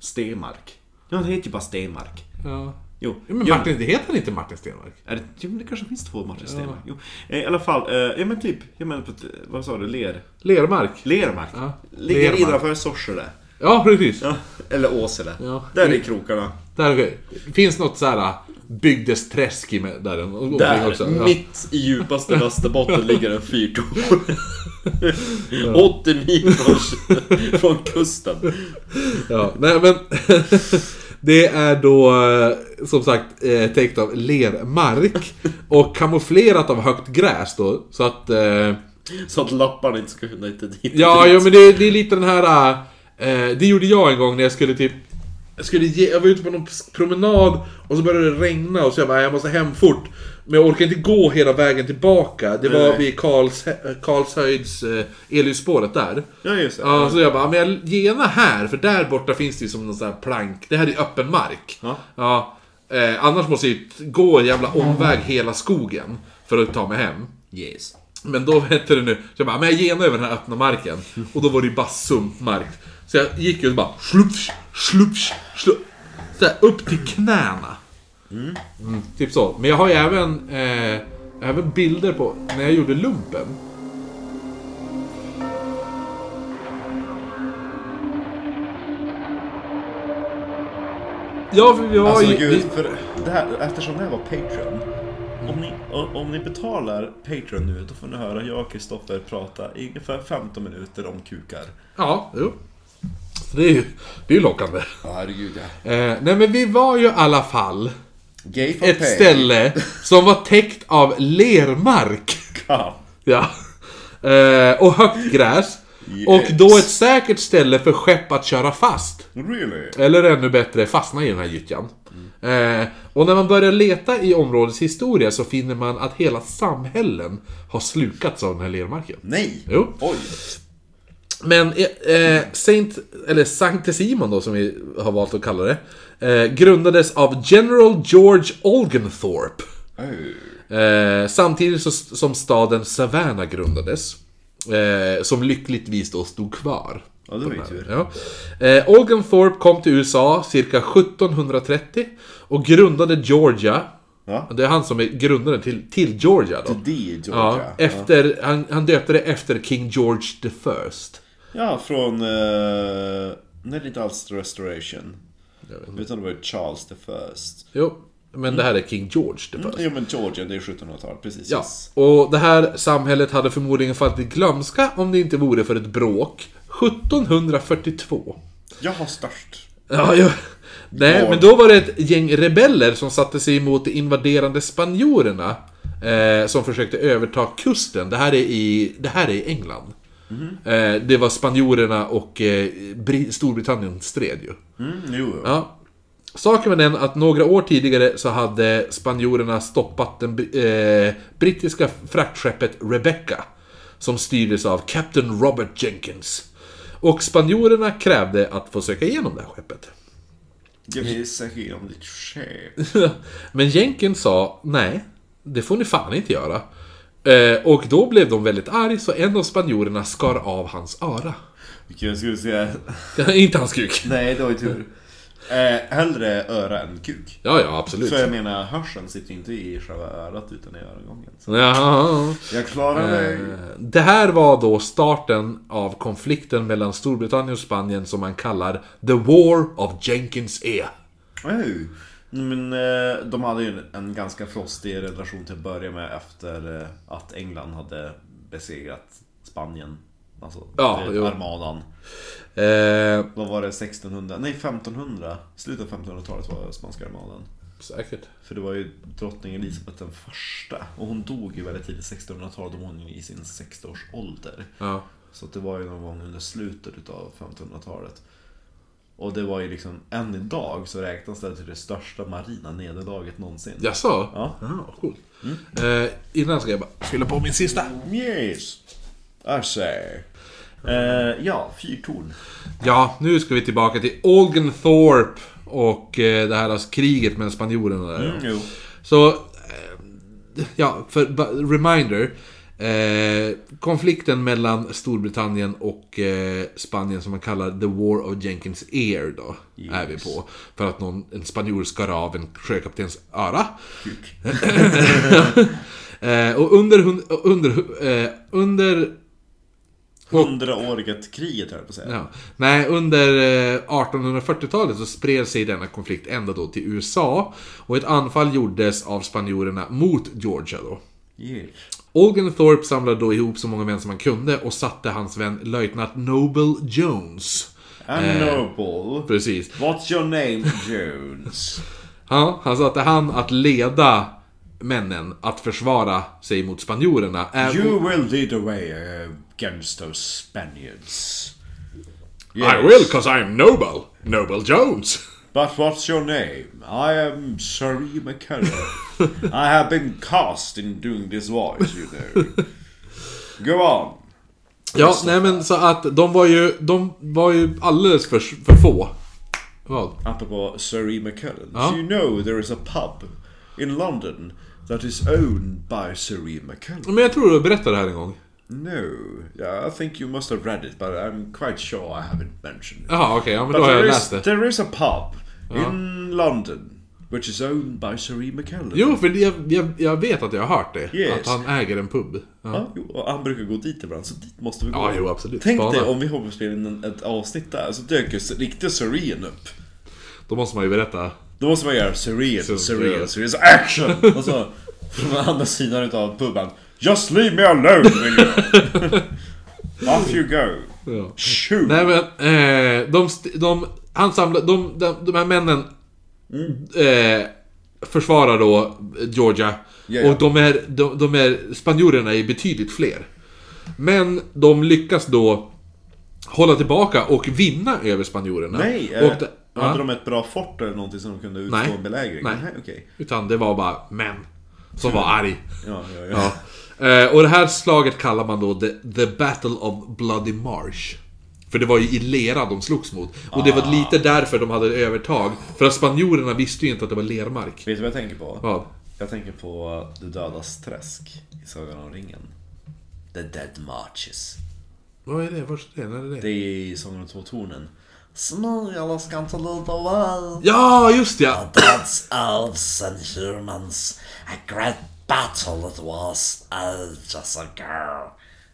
S2: Stenmark. Ja, han heter ju bara Stenmark.
S1: Ja.
S2: Jo,
S1: Ja, Men
S2: jo,
S1: Martin, det heter han inte Martin Stenmark?
S2: Är det, jo, men det kanske finns två Martin Stenmark. Jo. Eh, I alla fall, eh, ja men typ, jag menar, på ett- vad sa du, Ler?
S1: Lermark?
S2: Lermark.
S1: Ja,
S2: Ligger
S1: Lermark.
S2: innanför Sorsele.
S1: Ja, precis.
S2: Ja, eller Åsele.
S1: Ja.
S2: Där är krokarna.
S1: Där, det finns något så här bygdes träsk i med, där. den- och- och-
S2: Där, Mm.
S1: också. Ja.
S2: mitt i djupaste Västerbotten ligger en fyrtorn. 80 mil från, från kusten.
S1: Ja, nej men... det är då eh, som sagt eh, täckt av lermark och kamouflerat av högt gräs då. Så att... Eh,
S2: Så att lapparna inte ska kunna hitta dit.
S1: Ja, jo, men det, det är lite den här... Eh, det gjorde jag en gång när jag skulle typ... Jag, skulle ge, jag var ute på någon promenad och så började det regna och så jag bara, jag måste hem fort. Men jag orkade inte gå hela vägen tillbaka. Det var
S2: Nej.
S1: vid Karls, Karlshöjds eh, elljusspåret där.
S2: Ja, just det.
S1: Ja, så jag bara, men jag gena här, för där borta finns det ju som någon sån här plank. Det här är öppen mark.
S2: Ja.
S1: eh, annars måste jag ju t- gå en jävla omväg hela skogen för att ta mig hem.
S2: Yes.
S1: Men då hette det nu, så jag bara, men jag genar över den här öppna marken. Och då var det ju bara sumpmark. Så jag gick ju och bara slupsch, slupsch, slupsch. Så här, upp till knäna. Mm, typ så. Men jag har ju även, eh, även bilder på när jag gjorde lumpen. Ja, för vi var
S2: Alltså
S1: ju...
S2: gud, för det här, eftersom det här var Patreon. Om ni, o- om ni betalar Patreon nu, då får ni höra jag och Kristoffer prata i ungefär 15 minuter om kukar.
S1: Ja, jo. Så det är ju, det är ju lockande.
S2: Ja, herregud ja.
S1: Eh, nej men vi var ju i alla fall
S2: Gay for
S1: ett
S2: pay.
S1: ställe som var täckt av lermark.
S2: Kam.
S1: Ja. Eh, och högt gräs. Och då ett säkert ställe för skepp att köra fast.
S2: Really?
S1: Eller ännu bättre, fastna i den här gyttjan. Eh, och när man börjar leta i områdets historia så finner man att hela samhällen har slukats av den här lermarken.
S2: Nej!
S1: Jo.
S2: Oj!
S1: Men eh, eh, Saint, eller Sankte Simon då som vi har valt att kalla det. Eh, grundades av General George Olgenthorpe.
S2: Oj.
S1: Eh, samtidigt så, som staden Savannah grundades. Eh, som lyckligtvis då stod kvar.
S2: Ja, det var ju tur.
S1: Ja. Eh, Olgenthorpe kom till USA cirka 1730 och grundade Georgia.
S2: Ja.
S1: Det är han som är grundaren till, till Georgia då.
S2: Det är
S1: Ja,
S2: Georgia. Ja,
S1: efter, han, han döpte det efter King George the First.
S2: ja från... eh, nej, inte alls Restoration. Utan det var ju Charles the First.
S1: Jo, men det här är King George the First.
S2: Jo men Georgia, det är 1700-tal, precis.
S1: Ja, och det här samhället hade förmodligen fallit i glömska om det inte vore för ett bråk 1742.
S2: Jag har störst.
S1: Ja, ja. Nej,
S2: Ja.
S1: men då var det ett gäng rebeller som satte sig emot de invaderande spanjorerna. Eh, som försökte överta kusten. Det här är i, det här är i England. Eh, det var spanjorerna och eh, Bri- Storbritannien stred ju.
S2: Mm, jo.
S1: Ja. Saken med den att några år tidigare så hade spanjorerna stoppat den bri- eh, brittiska fraktskeppet Rebecca. Som styrdes av Captain Robert Jenkins. Och spanjorerna krävde att få söka igenom det här skeppet.
S2: Jag vill säkert igenom ditt skepp.
S1: Men Jenkins sa nej, det får ni fan inte göra. Eh, och då blev de väldigt arg så en av spanjorerna skar av hans öra.
S2: Vilken skulle säga...
S1: inte hans kuk.
S2: Nej, det var ju tur. Eh, hellre öra än kuk.
S1: Ja, ja, absolut.
S2: För jag menar, hörseln sitter ju inte i själva örat utan i örongången. Så
S1: Ja.
S2: jag klarar mig.
S1: Eh, Det här var då starten av konflikten mellan Storbritannien och Spanien som man kallar The War of Jenkins E.
S2: Oj. Men eh, de hade ju en ganska frostig relation till att börja med efter eh, att England hade besegrat Spanien. Alltså
S1: Ja,
S2: det-
S1: jo.
S2: armadan.
S1: Eh,
S2: Vad var det? 1600? Nej, 1500. Slutet av 1500-talet var spanska armadan.
S1: säkert.
S2: För det var ju drottning Elisabeth den första. Och hon dog ju väldigt tidigt, 1600-talet. Hon var ju i sin 60-årsålder.
S1: Ja.
S2: Så att det var ju någon gång under slutet utav 1500-talet. Och det var ju liksom, än idag så räknas det till det största marina nederlaget någonsin.
S1: Jaså?
S2: Ja.
S1: Ja, coolt. Eh, innan ska jag bara fylla på min sista.
S2: Yes! I say. Eh, ja, fyrtorn.
S1: Ja, nu ska vi tillbaka till Olgenthorpe och eh, det här alltså, kriget mellan spanjorerna där.
S2: Mm, jo.
S1: Så, eh, ja, för ba- reminder. Eh, konflikten mellan Storbritannien och eh, Spanien som man kallar The War of Jenkins Ear då. Är vi på. För att någon, en spanjor skar av en sjökaptens öra.
S2: Kuk.
S1: Eh, och under, hun- och under, eh, under
S2: Hundraåriga kriget höll jag på att säga.
S1: Ja. Nej, under eh, 1840-talet så spred sig denna konflikt ända då till USA. Och ett anfall gjordes av spanjorerna mot Georgia då.
S2: Yes.
S1: Olgenthorpe samlade då ihop så många män som han kunde och satte hans vän löjtnant Noble Jones.
S2: I'm noble.
S1: Precis.
S2: What's your name, Jones?
S1: Ja, han satte han att leda männen att försvara sig mot spanjorerna. Ä-
S2: You will lead the way uh, against those Spaniards.
S1: I will, cause I'm noble! Noble Jones!
S2: But what's your name? I am Sari McKenna. I have been cast in doing this voice, you know. Go on.
S1: Ja, nej men så att de var ju, de var ju alldeles för, för få. Vad?
S2: Apropå Sari McKellen. E. Do you know there is a pub in London that is owned by Sari McKellen?
S1: Men jag tror du berättade det här en gång.
S2: No. Yeah, I think you must have read it, but I'm quite sure I haven't mentioned it.
S1: Jaha, okej, ja, men
S2: But
S1: då har jag
S2: there,
S1: läst
S2: is,
S1: det.
S2: there is a pub in London which is owned by E. Sari McKellen.
S1: Jo, för det- jag, jag, jag vet att jag har hört det.
S2: Yes.
S1: Att han äger en pub. Ja,
S2: Ja, jo, och han brukar gå dit ibland, så dit måste vi gå.
S1: Ja, jo, absolut.
S2: Tänk
S1: Spana.
S2: dig om vi hoppar spela in en- ett avsnitt där, så dök ju riktiga Serene upp.
S1: Då måste man ju berätta.
S2: Då måste man göra Serene,
S1: Så-
S2: Serene, Serene, så action! Och så från andra sidan utav puben. Just leave me alone, will you? Off you go.
S1: Ja.
S2: Shoot!
S1: Nej men,
S2: Mm.
S1: eh, de, st- de, han samlade, de, de, de här männen eh, försvarar då Georgia.
S2: Ja, ja.
S1: Och de är, de, de är, spanjorerna är betydligt fler. Men de lyckas då hålla tillbaka och vinna över spanjorerna.
S2: Nej,
S1: och
S2: eh,
S1: det-
S2: hade
S1: ja,
S2: de ett bra fort eller någonting som de kunde utstå
S1: Nej.
S2: en belägring?
S1: Nej.
S2: Nej, okej.
S1: Utan det var bara män som var arg.
S2: Ja, ja, ja.
S1: Ja. Eh, Och det här slaget kallar man då the, the Battle of Bloody Marsh. För det var ju i lera de slogs mot. Och det
S2: Ah.
S1: var lite därför de hade övertag. För att spanjorerna visste ju inte att det var lermark.
S2: Vet du vad jag tänker på?
S1: Ja.
S2: Jag tänker på Det dödas träsk i Sagan om ringen. The Dead Marches.
S1: Vad är det? Vart är det? När är det?
S2: Det är i Sången om två tornen. Smörj alla skantaluter väl.
S1: Ja, just ja!
S2: Gods, elves and humans. A great battle it was uh, ages ago.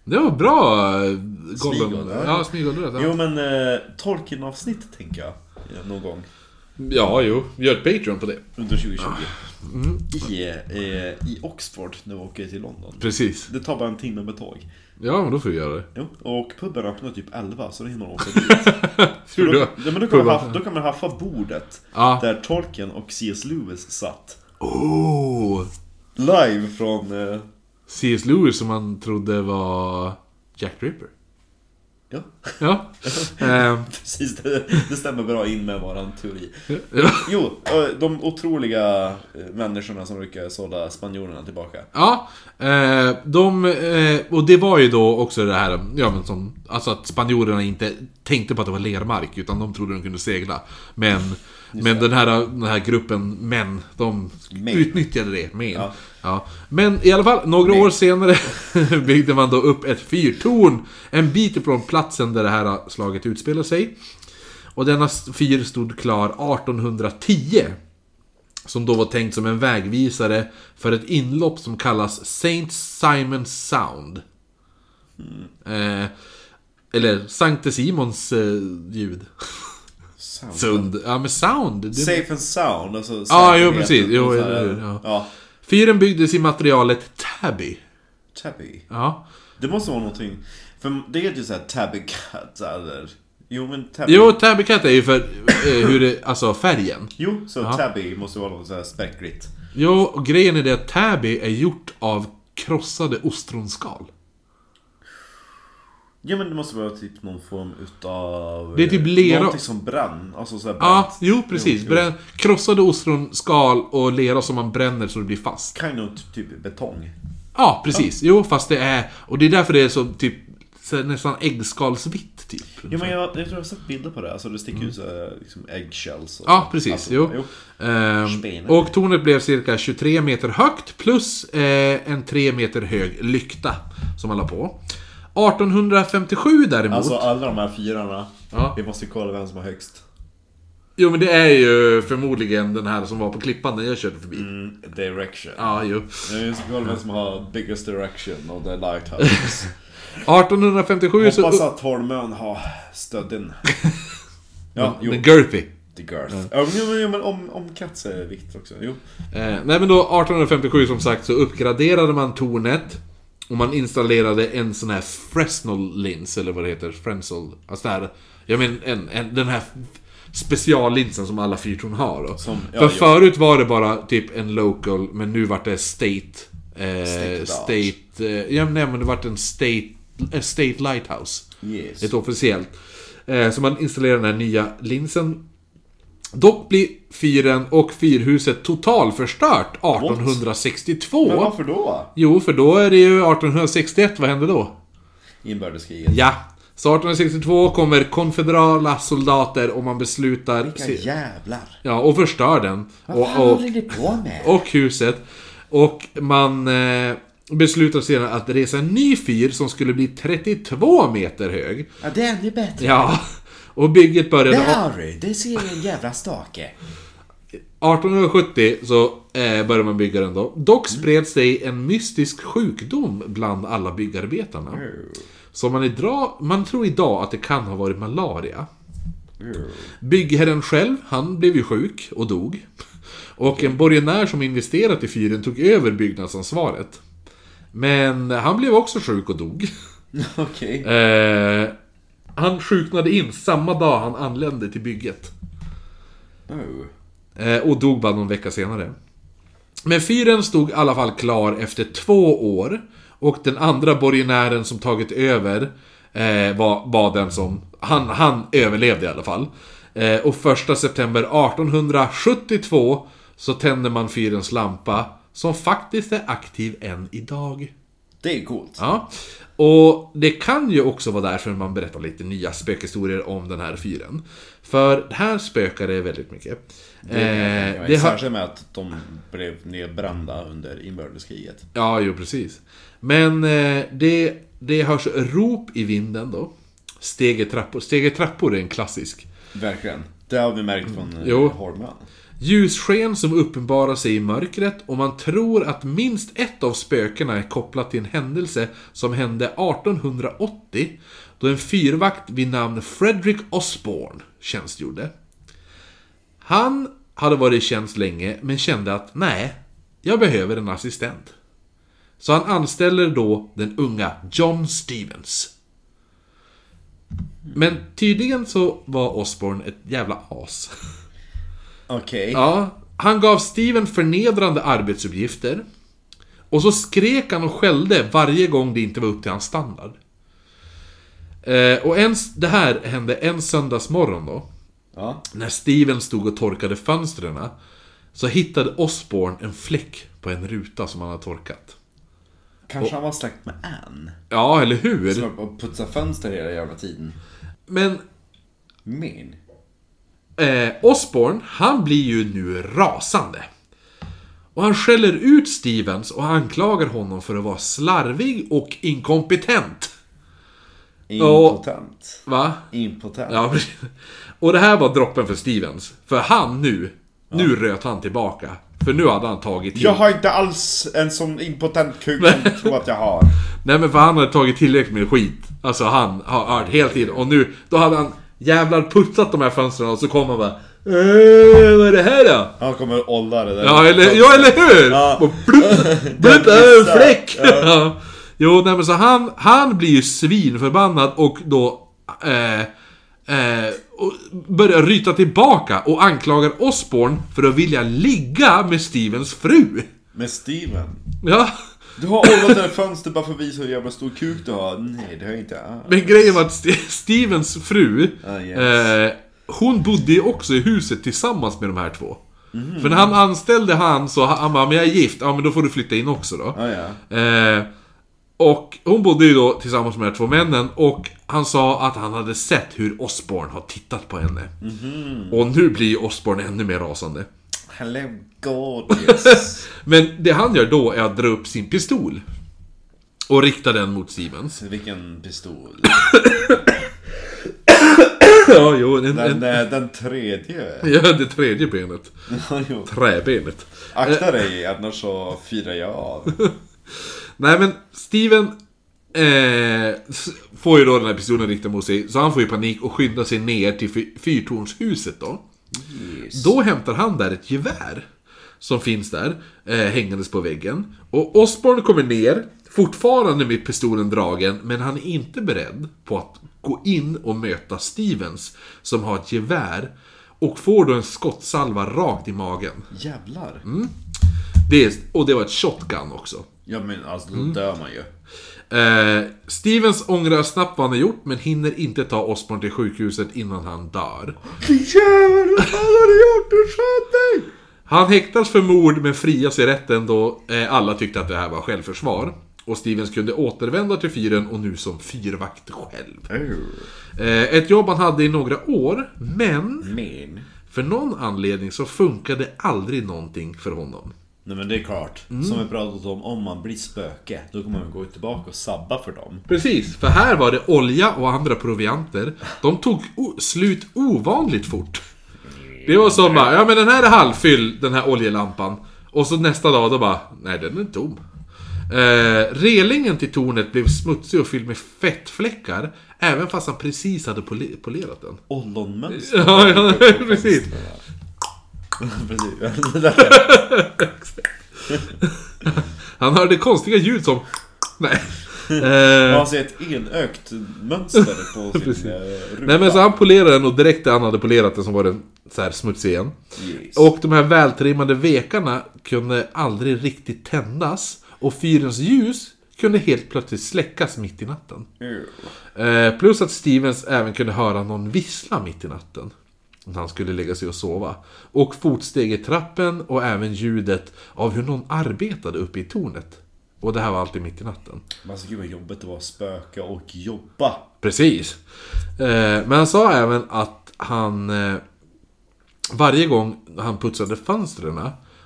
S1: Det var bra... eh, Gollum.
S2: Smigol, ja.
S1: Ja, Smigol. du vet,
S2: Jo
S1: Ja.
S2: men eh, Tolkien-avsnitt tänker jag. eh, Någon gång.
S1: ja, jo. Vi gör ett Patreon på det.
S2: Under 2020. I, eh, I Oxford när vi åker till London.
S1: Precis.
S2: Det tar bara en timme med tåg.
S1: Ja, men då får vi göra det.
S2: Jo, och puben öppnar typ 11 så då hinner man åka dit.
S1: Hur
S2: då,
S1: då?
S2: ja, men då, kan man
S1: Puben.
S2: haffa, då kan man haffa bordet
S1: Ja.
S2: där Tolkien och C.S. Lewis satt.
S1: Oh!
S2: Live från... Eh,
S1: C.S. Lewis som man trodde var... Jack the Ripper.
S2: ja,
S1: Ja. Ehm,
S2: precis. Det, det stämmer bra in med våran teori.
S1: ja.
S2: Jo, eh, de otroliga eh, människorna som brukar sålla spanjorerna tillbaka.
S1: Ja, eh, de, eh, och det var ju då också det här, ja men som, alltså att spanjorerna inte tänkte på att det var lermark, utan de trodde de kunde segla. Men, men den, här, den här gruppen män, de
S2: Men.
S1: utnyttjade det. Men.
S2: Ja.
S1: Ja. Men i alla fall, några år senare byggde man då upp ett fyrtorn en bit ifrån platsen där det här slaget utspelar sig. Och denna fyr stod klar 1810. Som då var tänkt som en vägvisare för ett inlopp som kallas Saint Simon Sound. Eh, eller Sankte Simons eh, ljud.
S2: Sound.
S1: Sund. Ja men sound. Det...
S2: Safe and sound, alltså
S1: Ja, jo,
S2: säkerheten
S1: precis. Jo,
S2: och så här,
S1: eller hur, ja.
S2: ja.
S1: Fyren byggdes i materialet Tabby.
S2: Tabby.
S1: Ja.
S2: Det måste vara någonting. För det heter ju såhär tabby cat eller... Jo men tabby.
S1: Jo, Tabby Cat är ju för eh, hur det, alltså färgen.
S2: Jo, så tabby måste vara något såhär speckligt.
S1: Jo, och grejen är det att Tabby är gjort av krossade ostronskal.
S2: Ja men det måste vara typ någon form utav... eh,
S1: Det är typ lera.
S2: Någonting som brann. Alltså såhär
S1: Ja,
S2: brann.
S1: jo precis.
S2: jo.
S1: Brän, krossade ostronskal och lera som man bränner så det blir fast.
S2: Kind of typ betong.
S1: Ja, precis. Jo, fast det är... Och det är därför det är så typ... Så nästan äggskalsvitt, typ.
S2: Ja men jag, jag tror jag har sett bilder på det. Alltså det sticker ut såhär liksom eggshells och
S1: Mm. Ja, precis.
S2: Alltså,
S1: jo. Ehm,
S2: Spinner.
S1: och tornet blev cirka 23 meter högt plus eh, en 3 meter hög lykta som man la på. 1857 däremot...
S2: Alltså alla de här fyrarna.
S1: Ja.
S2: Vi måste kolla vem som har högst.
S1: Jo, men det är ju förmodligen den här som var på klippan när jag körde förbi.
S2: Mm, direction.
S1: Ja, jo.
S2: Vi måste kolla vem som har biggest direction och the lighthouse.
S1: 1857 så...
S2: Hoppas att Holmön har stödden. Ja, jo.
S1: Den Gerpy.
S2: The girth. Ja, men, men, men om, om Katz är vikt också. Jo.
S1: Eh, nej men då 1857 som sagt så uppgraderade man tornet och man installerade en sån här Fresnel lins eller vad det heter, Fresnel, alltså det här, jag menar en, en, den här speciallinsen som alla fyrtorn har då.
S2: Som- ja,
S1: För
S2: ja.
S1: förut var det bara typ en local, men nu vart det state...
S2: State
S1: Eh,
S2: large.
S1: state... Eh, ja nej men det vart en state... eh, State Lighthouse.
S2: Yes.
S1: Ett officiellt. Eh, så man installerar den här nya linsen. Dock blir fyren och fyrhuset totalförstört 1862.
S2: Men varför då?
S1: Jo, för då är det ju 1861, vad hände då?
S2: Inbördeskriget.
S1: Ja. Så 1862 kommer konfederala soldater och man beslutar...
S2: Vilka jävlar.
S1: Ja, och förstör den. Och, och,
S2: ni på med?
S1: och huset. Och man eh, beslutar sedan att resa en ny fyr som skulle bli 32 meter hög.
S2: Ja, det är ännu bättre.
S1: Ja. Och bygget började...
S2: du, det ser en jävla stake.
S1: 1870 så eh, började man bygga den då. Dock spred sig en mystisk sjukdom bland alla byggarbetarna. Så man, idag, man tror idag att det kan ha varit malaria. Byggherren själv, han blev ju sjuk och dog. Och en borgenär som investerat i fyren tog över byggnadsansvaret. Men han blev också sjuk och dog.
S2: Okej.
S1: Eh, han sjuknade in samma dag han anlände till bygget.
S2: Oh.
S1: Eh, och dog bara någon vecka senare. Men fyren stod i alla fall klar efter två år. Och den andra borgenären som tagit över eh, var, var den som... Han, han överlevde i alla fall. Eh, och första september 1872 så tände man fyrens lampa, som faktiskt är aktiv än idag.
S2: Det är coolt.
S1: Ja. Och det kan ju också vara därför man berättar lite nya spökhistorier om den här fyren. För här spökar det väldigt mycket.
S3: Det,
S1: Eh,
S3: jag är
S1: det har-
S3: Särskilt med att de blev nedbrända under inbördeskriget.
S1: Ja, jo precis. Men eh, det, det hörs rop i vinden då. Steg i trappor. Steg i trappor är en klassisk.
S3: Verkligen. Det har vi märkt från eh,
S1: Jo.
S3: Holmön.
S1: Ljussken som uppenbarar sig i mörkret och man tror att minst ett av spökena är kopplat till en händelse som hände 1880 då en fyrvakt vid namn Frederick Osborne tjänstgjorde. Han hade varit i tjänst länge men kände att nej, jag behöver en assistent. Så han anställer då den unga John Stevens. Men tydligen så var Osborne ett jävla as.
S3: Okej.
S1: Ja, han gav Steven förnedrande arbetsuppgifter. Och så skrek han och skällde varje gång det inte var upp till hans standard. Eh, och en, det här hände en söndagsmorgon då.
S3: Ja.
S1: När Steven stod och torkade fönstren så hittade Osborne en fläck på en ruta som han hade torkat.
S3: Kanske han var släkt med Ann.
S1: Ja, eller hur?
S3: Som var och putsade fönster hela jävla tiden.
S1: Men
S3: Min.
S1: Eh, Osborne, han blir ju nu rasande. Och han skäller ut Stevens och anklagar honom för att vara slarvig och inkompetent.
S3: Impotent.
S1: Va?
S3: Impotent.
S1: Ja, precis. och det här var droppen för Stevens. För han nu, nu röt han tillbaka. För nu hade han tagit till.
S3: Jag har inte alls en sån impotent kuk som jag tror att jag har.
S1: Nej men för han hade tagit tillräckligt med skit. Alltså han har hört hela tiden. Och nu, då hade han jävlar putsat de här fönstren och så kom han bara "Eh, vad är det här då?
S3: Han kommer att olla det där.
S1: Ja eller, ja, eller hur!
S3: Ja.
S1: Och blupp, blupp,
S3: missar.
S1: en fläck! Ja. Jo, nej men så han, han blir ju svinförbannad och då... Eh, eh, och börjar ryta tillbaka och anklagar Osborne för att vilja ligga med Stevens fru.
S3: Med Steven.
S1: Ja,
S3: Du har ollat det där fönstret bara för att visa hur jävla stor kuk du har. Nej, det har jag inte Ah. alls.
S1: men grejen var att Ste- Stevens fru,
S3: Ah, yes.
S1: eh, hon bodde ju också i huset tillsammans med de här två.
S3: Mhm.
S1: För när han anställde han så han bara, men jag är gift, ja men då får du flytta in också då.
S3: Ja, Ah, ja.
S1: Eh, och hon bodde ju då tillsammans med de här två männen och han sa att han hade sett hur Osborne har tittat på henne. Och nu blir ju Osborne ännu mer rasande.
S3: Hello gorgeous.
S1: Men det han gör då är att dra upp sin pistol. Och rikta den mot Stevens.
S3: Vilken pistol.
S1: Ja, jo, en, en,
S3: Den, eh, den tredje.
S1: ja, det tredje benet.
S3: Ja, jo.
S1: Träbenet.
S3: Akta dig, annars så firar jag av.
S1: Nej men Steven eh, s- får ju då den här pistolen riktad mot sig, så han får ju panik och skyndar sig ner till fy- fyrtornshuset då. Då hämtar han där ett gevär som finns där, eh, hängandes på väggen. Och Osborne kommer ner, fortfarande med pistolen dragen, men han är inte beredd på att gå in och möta Stevens, som har ett gevär, och får då en skottsalva rakt i magen.
S3: Jävlar.
S1: Mm. Det är, och det var ett shotgun också.
S3: Ja, men alltså då
S1: Mm.
S3: dör man ju.
S1: Eh, Stevens ångrar snabbt vad han har gjort men hinner inte ta Osborn till sjukhuset innan han dör.
S3: Jävlar, vad fan har du gjort? Du sköt dig!
S1: Han häktas för mord men frias i rätten då eh, alla tyckte att det här var självförsvar. Och Stevens kunde återvända till fyren och nu som fyrvakt själv. Eh, ett jobb han hade i några år, men
S3: Min.
S1: för någon anledning så funkade aldrig någonting för honom.
S3: Nej men det är klart.
S1: Mm.
S3: Som vi pratat om, om man blir spöke, då kommer man gå tillbaka och sabba för dem.
S1: Precis, för här var det olja och andra provianter. De tog o- slut ovanligt fort. Det var som bara, ja men den här är halvfylld, den här oljelampan. Och så nästa dag då bara, nej den är tom. Eh, relingen till tornet blev smutsig och fylld med fettfläckar. Även fast han precis hade pole- polerat den.
S3: Ollonmönster.
S1: Ja, ja, precis.
S3: Precis. Det där-
S1: Han hörde konstiga ljud som... Nej.
S2: Och
S1: Eh,
S2: han ser ett enögt mönster på
S1: Precis.
S2: sin eh, ruta.
S1: nej men så han polerar den och direkt när han hade polerat den så var den så här smutsig igen.
S2: yes.
S1: Och de här vältrimmade vekarna kunde aldrig riktigt tändas. Och fyrens ljus kunde helt plötsligt släckas mitt i natten.
S2: Ew.
S1: Eh, plus att Stevens även kunde höra någon vissla mitt i natten. När han skulle lägga sig och sova. Och fotsteg i trappen och även ljudet av hur någon arbetade uppe i tornet. Och det här var alltid mitt i natten.
S2: Men alltså gud vad jobbigt det var att spöka och jobba.
S1: Precis. Eh, men han sa även att han... Eh, varje gång han putsade fönstren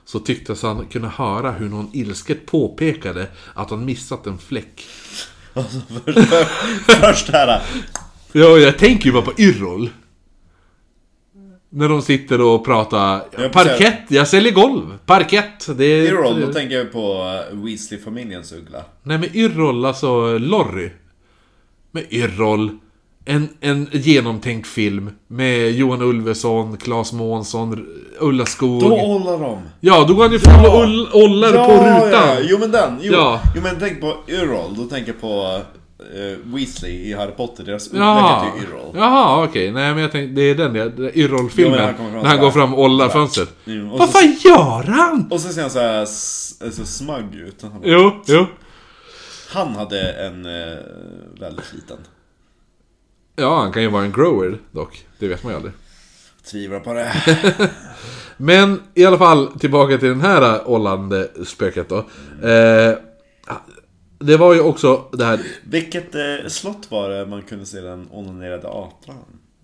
S1: så tycktes han kunna höra hur någon ilsket påpekade att han missat en fläck.
S2: Alltså först, först här. eh,
S1: Ja, jag tänker ju bara på Yrrol. När de sitter och pratar
S2: precis.
S1: parkett, jag säljer golv. Parkett, det är...
S2: Errol, då tänker jag på eh, Weasley-familjens uggla.
S1: Nej men Yrrol, alltså Lorry. Med Yrrol. En, en genomtänkt film med Johan Ulveson, Claes Månsson, Ulla Skoog.
S2: Då ollar de!
S1: Ja, då går han ju fram och ull- ollar på rutan.
S2: Ja. Jo men den, jo.
S1: Ja.
S2: jo men tänk på Errol, då tänker jag på eh, Weasley i Harry Potter, deras uggla
S1: Jaha,
S2: heter ju Errol.
S1: Jaha okej. Nej men jag tänkte, det är den jag...
S2: Jo, men
S1: Yrrol-filmen.
S2: han kommer fram
S1: när han
S2: så
S1: går
S2: här.
S1: fram och ollar fönstret.
S2: Mm, och
S1: Vad
S2: så-
S1: fan gör han?
S2: Och så ser han så här s- så smug ut. Han, bara,
S1: Jo, jo.
S2: han hade en eh, väldigt liten.
S1: Ja, han kan ju vara en grower dock. Det vet man ju aldrig.
S2: Tvivlar på det.
S1: Men i alla fall, tillbaka till den här ollande spöket då. Eh, det var ju också det här...
S2: Vilket eh, slott var det man kunde se den onanerade apan?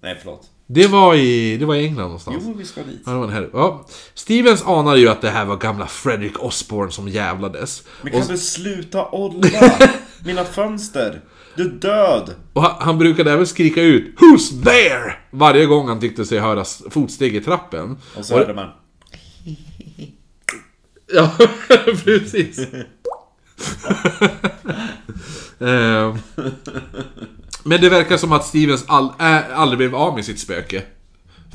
S2: Nej förlåt.
S1: Det var i, det var i England någonstans.
S2: Jo, vi ska dit.
S1: Ja, det var den här. Ja. Stevens anade ju att det här var gamla Fredrik Osborne som jävlades.
S2: Men
S1: Och,
S2: kan du sluta olla? Mina fönster! Du är död!
S1: och han, han brukade även skrika ut “Who's there?” varje gång han tyckte sig höra s- fotsteg i trappen.
S2: Och så hörde man...
S1: Ja, precis. Ehm, Men det verkar som att Stevens all, ä, aldrig blev av med sitt spöke.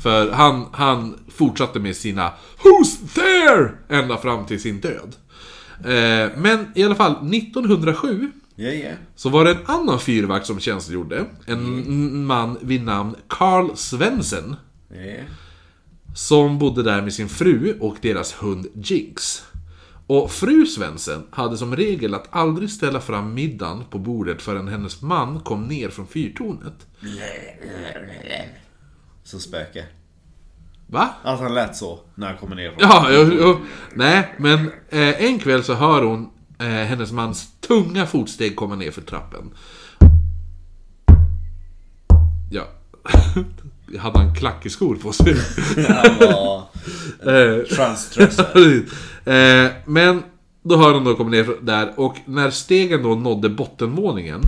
S1: För han, han fortsatte med sina Who's there? Ända fram till sin död. Ehm, Men i alla fall 1907
S2: Ja, ja.
S1: så var det en annan fyrvakt som tjänstgjorde. En n- man vid namn Carl Svensson.
S2: Ja, ja.
S1: Som bodde där med sin fru och deras hund Jinx. Och fru Svensson hade som regel att aldrig ställa fram middagen på bordet förrän hennes man kom ner från fyrtornet.
S2: Så spöke.
S1: Va?
S2: Att han lät så när han kommer ner från...
S1: Ja, jo, jo. Nej, men eh, en kväll så hör hon eh, hennes mans tunga fotsteg komma ner för trappen. Ja. Jag hade en klack i skor på sig.
S2: Han var
S1: Eh,
S2: transdresser.
S1: Precis. eh, men då hör hon då komma ner där och när stegen då nådde bottenvåningen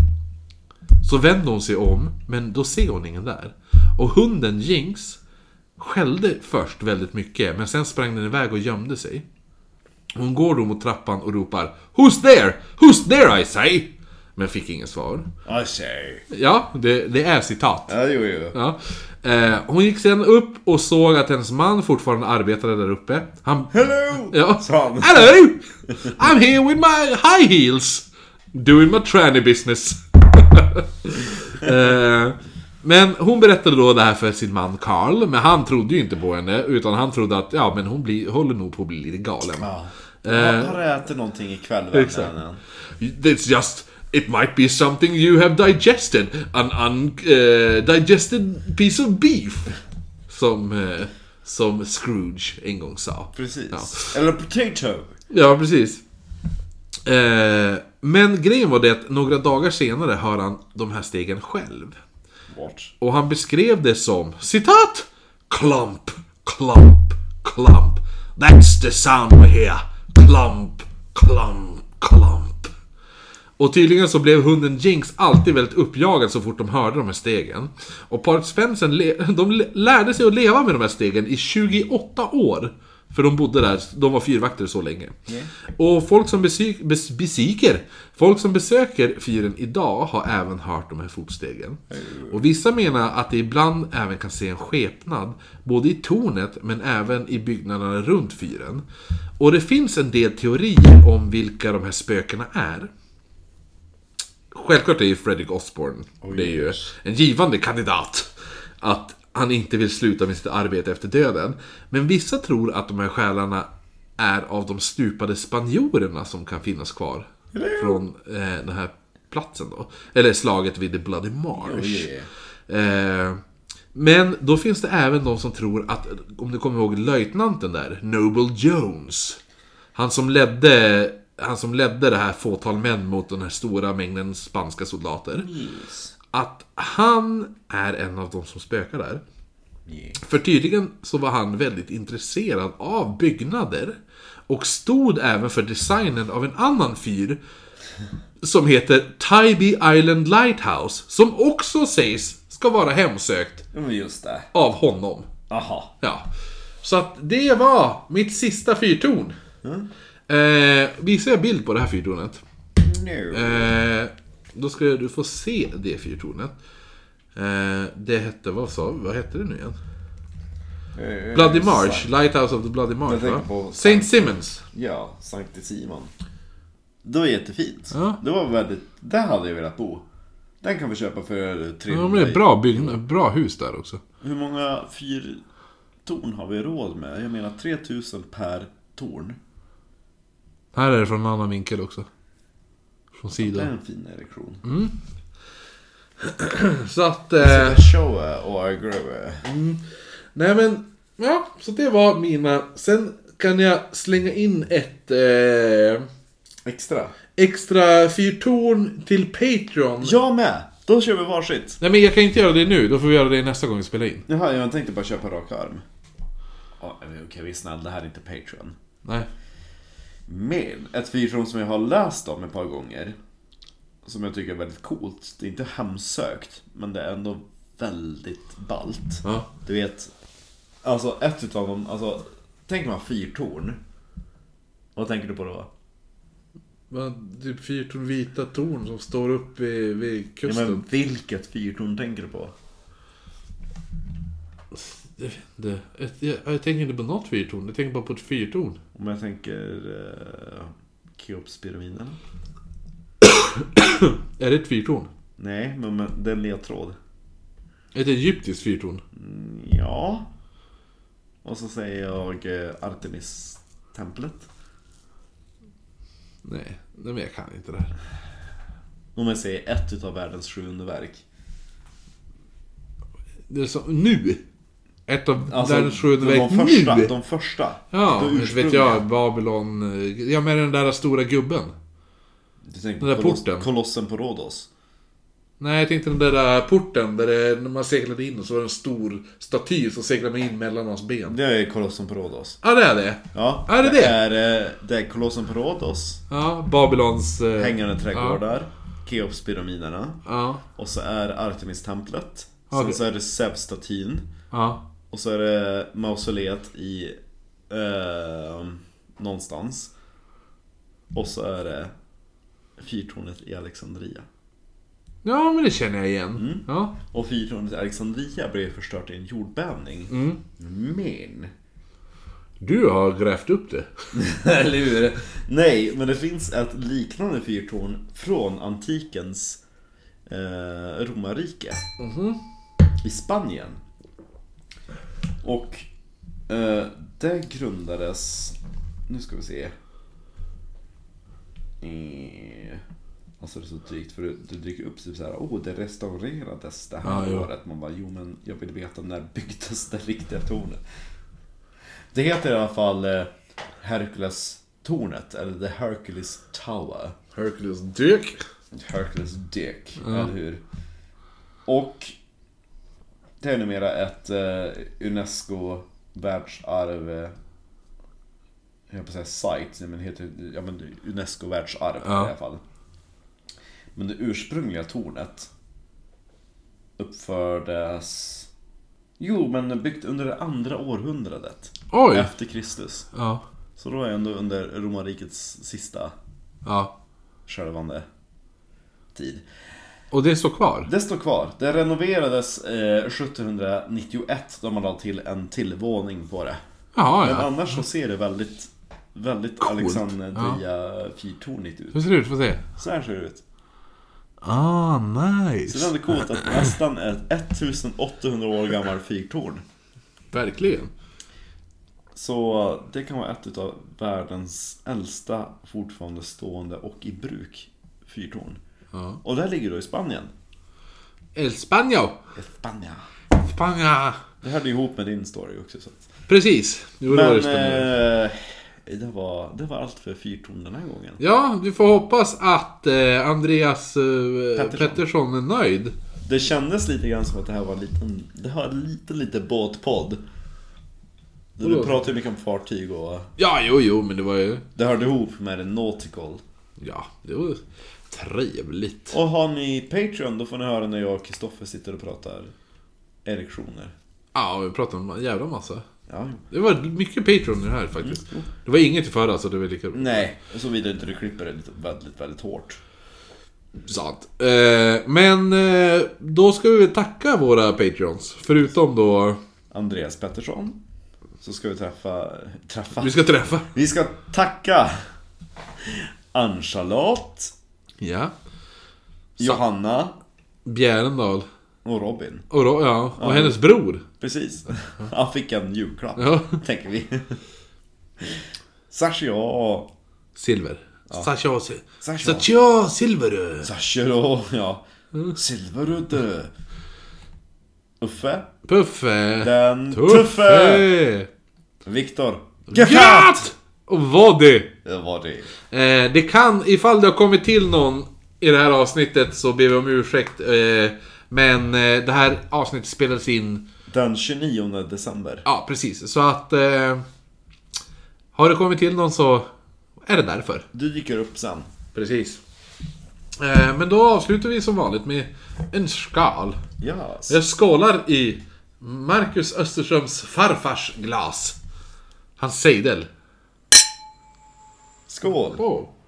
S1: så vänder hon sig om, men då ser hon ingen där. Och hunden Jinx skällde först väldigt mycket, men sen sprang den iväg och gömde sig. Hon går då mot trappan och ropar “Who's there? Who's there I say?” Men fick inget svar.
S2: Ja, Ah, tjej.
S1: Ja, det, det är citat.
S2: Ja, jo, jo.
S1: Ja. Eh, hon gick sen upp och såg att hennes man fortfarande arbetade där uppe. Han...
S2: Hello!
S1: Ja.
S2: Sa han.
S1: Hello! I'm here with my high heels! Doing my tranny business. eh, men hon berättade då det här för sin man Carl, men han trodde ju inte på henne. Utan han trodde att, ja men hon blir, håller nog på att bli lite galen.
S2: Ja.
S1: Eh,
S2: Har har du ätit någonting ikväll, vännen?
S1: It's just... It might be something you have digested. An undigested piece of beef. Som, eh, som Scrooge en gång sa.
S2: Precis. Eller potato.
S1: Ja, precis. Eh, men grejen var det att några dagar senare hör han de här stegen själv.
S2: Vart?
S1: Och han beskrev det som citat! Klump, klump, klump. That's the sound we hear. Klump, klump, klump. Och tydligen så blev hunden Jinx alltid väldigt uppjagad så fort de hörde de här stegen. Och paret Svensson, le- de le- lärde sig att leva med de här stegen i 28 år. För de bodde där, de var fyrvakter så länge. Och folk som besy- bes- besiker, folk som besöker fyren idag har även hört de här fotstegen. Och vissa menar att det ibland även kan se en skepnad, både i tornet men även i byggnaderna runt fyren. Och det finns en del teorier om vilka de här spökena är. Självklart är ju Fredrik Osborne, det är ju en givande kandidat. Att han inte vill sluta med sitt arbete efter döden. Men vissa tror att de här själarna är av de stupade spanjorerna som kan finnas kvar. Från eh, den här platsen då. Eller slaget vid The Bloody Marsh. Eh, men då finns det även de som tror att, om du kommer ihåg löjtnanten där, Noble Jones. Han som ledde, han som ledde det här fåtal män mot den här stora mängden spanska soldater. Att han är en av de som spökar där. För tydligen så var han väldigt intresserad av byggnader. Och stod även för designen av en annan fyr som heter Tybee Island Lighthouse, som också sägs ska vara hemsökt
S2: Ja, men Mm, just det.
S1: av honom.
S2: Aha.
S1: Ja. Så att det var mitt sista fyrtorn. Eh, visar jag bild på det här fyrtornet?
S2: No.
S1: Eh, då ska du få se det fyrtornet. Eh, det hette, vad sa Vad hette det nu igen?
S2: Eh,
S1: Bloody Marsh, Lighthouse of the Bloody Marsh
S2: tänker
S1: va?
S2: på-
S1: St. Simmons.
S2: Ja, Sankte Simon. Det var jättefint.
S1: Ja.
S2: Det var väldigt... Där hade jag velat bo. Den kan vi köpa för
S1: Ja,
S2: 300.
S1: men det är bra, byggnad, bra hus där också.
S2: Hur många fyrtorn har vi råd med? Jag menar 3000 per torn.
S1: Här är det från en annan vinkel också. Från
S2: Det är
S1: sidan.
S2: en fin erektion.
S1: Mm. Så att... Eh,
S2: Show och grow.
S1: Nej men, ja, så det var mina. Sen kan jag slänga in ett eh,
S2: Extra.
S1: Mm. extra fyrtorn till Patreon.
S2: Jag med! Då kör vi varsitt.
S1: Nej men jag kan inte göra det nu, då får vi göra det nästa gång vi spelar in.
S2: Jaha, jag tänkte bara köpa rak arm. Ja, Okej, vi är snälla. Det här är inte Patreon.
S1: Nej.
S2: Men ett fyrtorn som jag har läst om ett par gånger. Som jag tycker är väldigt coolt. Det är inte hemsökt, men det är ändå väldigt ballt.
S1: Ja.
S2: Du vet, alltså ett utav dem, alltså tänker man fyrtorn. Vad tänker du på då?
S1: Men, typ fyrtorn vita torn som står upp vid, vid
S2: Ja,
S1: kusten.
S2: men vilket fyrtorn tänker du på?
S1: Jag vet inte. Ett- Jag, jag tänker inte på något fyrtorn, jag tänker bara på ett fyrtorn.
S2: Om jag tänker eh, Keopspyramiden?
S1: Är det ett fyrtorn?
S2: Nej, men, men det är en ledtråd.
S1: Ett egyptiskt fyrtorn?
S2: Mm, Ja. Och så säger jag eh, Artemis-templet.
S1: Nej, nej men jag kan inte det här.
S2: Om jag säger ett utav världens sju underverk.
S1: Det är som, nu! Ett av
S2: Alltså,
S1: världens sju underverk
S2: de första,
S1: nu!
S2: De första.
S1: Ja,
S2: de
S1: inte vet jag, Babylon... eh, Ja, med den där stora gubben.
S2: Du tänker på
S1: Den där
S2: koloss,
S1: porten.
S2: Kolossen på Rhodos.
S1: Nej, jag tänkte den där, där eh, porten där det, när man seglade in och så var det en stor staty som seglade in mellan hans ben.
S2: Det är Kolossen på Rhodos.
S1: Ja, det är det.
S2: Ja,
S1: Är det det?
S2: Är, eh, det är Kolossen på Rhodos.
S1: Ja, Babylons... eh,
S2: Hängande trädgårdar. Keopspyramiderna.
S1: Ja,
S2: Och så är Artemis-templet.
S1: Ja, det-
S2: Sen så är det Zeus-statyn.
S1: ja.
S2: Och så är det mausoleet i... Eh, någonstans. Och så är det fyrtornet i Alexandria.
S1: Ja, men det känner jag igen.
S2: Mm.
S1: Ja.
S2: Och fyrtornet i Alexandria blev förstört i en jordbävning. Men...
S1: Du har grävt upp det.
S2: Eller hur? Nej, men det finns ett liknande fyrtorn från antikens eh, romarrike. I Spanien. Och eh, det grundades, nu ska vi se. Eh, alltså det är så drygt för det dyker upp typ så här, oh det restaurerades det här
S1: Ja, ja.
S2: året. Man bara, jo men jag vill veta när byggdes det riktiga tornet? Det heter i alla fall eh, Hercules-tornet, eller The Hercules Tower.
S1: Hercules Dirk.
S2: Hercules Dick, eller hur? Och det är numera ett eh, UNESCO världsarv... eh, Jag höll på att säga site, nej, men det heter ja, men UNESCO världsarv
S1: Ja.
S2: i alla fall. Men det ursprungliga tornet uppfördes... Jo, men byggt under det andra århundradet.
S1: Oj!
S2: Efter Kristus.
S1: Ja.
S2: Så då är jag ändå under romarrikets sista
S1: Ja.
S2: skälvande tid.
S1: Och det står kvar?
S2: Det står kvar. Det renoverades eh, 1791 då man la till en till våning på det.
S1: Jaha,
S2: Men
S1: ja.
S2: annars så ser det väldigt, väldigt
S1: Coolt.
S2: Alexandria fyrtornigt ut.
S1: Hur ser det ut? Får se.
S2: Så här ser det ut.
S4: Ah,
S2: Så
S4: nice!
S2: det är ändå coolt att nästan ett 1800 år gammal fyrtorn.
S1: Verkligen.
S2: Så det kan vara ett utav världens äldsta fortfarande stående och i bruk fyrtorn.
S1: Ja.
S2: Och det här ligger då i Spanien.
S1: El Spanio!
S2: Espanja.
S1: Spania!
S2: Det hörde ju ihop med din story också. Så. att-
S1: Precis. Jo, det var
S2: Men
S1: det spännande.
S2: eh, det, var, det var allt för fyrtorn den här gången.
S1: Ja, vi får hoppas att eh, Andreas eh, Pettersson. är nöjd.
S2: Det kändes lite grann som att det här var en liten, det här var en liten, lite båtpodd. Du
S1: Vadå?
S2: pratar ju mycket om fartyg och
S1: Ja, jo, jo, men det var ju...
S2: det hörde ihop med det nautical.
S1: Ja, det var trevligt.
S2: Och har ni Patreon då får ni höra när jag och Kristoffer sitter och pratar erektioner.
S1: Ja, vi pratade om en jävla massa.
S2: Ja, jo.
S1: Det var mycket Patreon i det här faktiskt. Det var inget i förra, så det var lika bra.
S2: Nej, såvida inte du klipper det lite, väldigt, väldigt hårt.
S1: Sant. Eh, men eh, då ska vi väl tacka våra Patreons. Förutom då...
S2: Andreas Pettersson. Så ska vi träffa... Träffa?
S1: Vi ska träffa.
S2: Vi ska tacka Ann-Charlotte,
S1: Ja.
S2: Johanna
S1: Bjärendal.
S2: och Robin.
S1: Och, då, ja, och hennes bror.
S2: Precis. Han fick en julklapp,
S1: Ja.
S2: tänker vi. Sashiro.
S1: Silver. Sasha och Sil-
S2: Sasha.
S1: Sasha Silver.
S2: Sashiro, ja. Silverudde. Uffe.
S1: Puffe.
S2: Den tuffe.
S1: Tuffe.
S2: Viktor.
S1: Gatt! Och vad det?
S2: Det var det.
S1: Eh, det kan, ifall det har kommit till någon i det här avsnittet så ber vi om ursäkt. Eh, men eh, det här avsnittet spelades in,
S2: Den 29 december.
S1: ja precis. Så att... Eh, har det kommit till någon så är det därför.
S2: Du dyker upp sen.
S1: Precis. Eh, men då avslutar vi som vanligt med en skal.
S2: Ja.
S1: Jag skålar i Marcus Österströms farfars glas. Hans sejdel.
S2: Skål.
S1: Oh.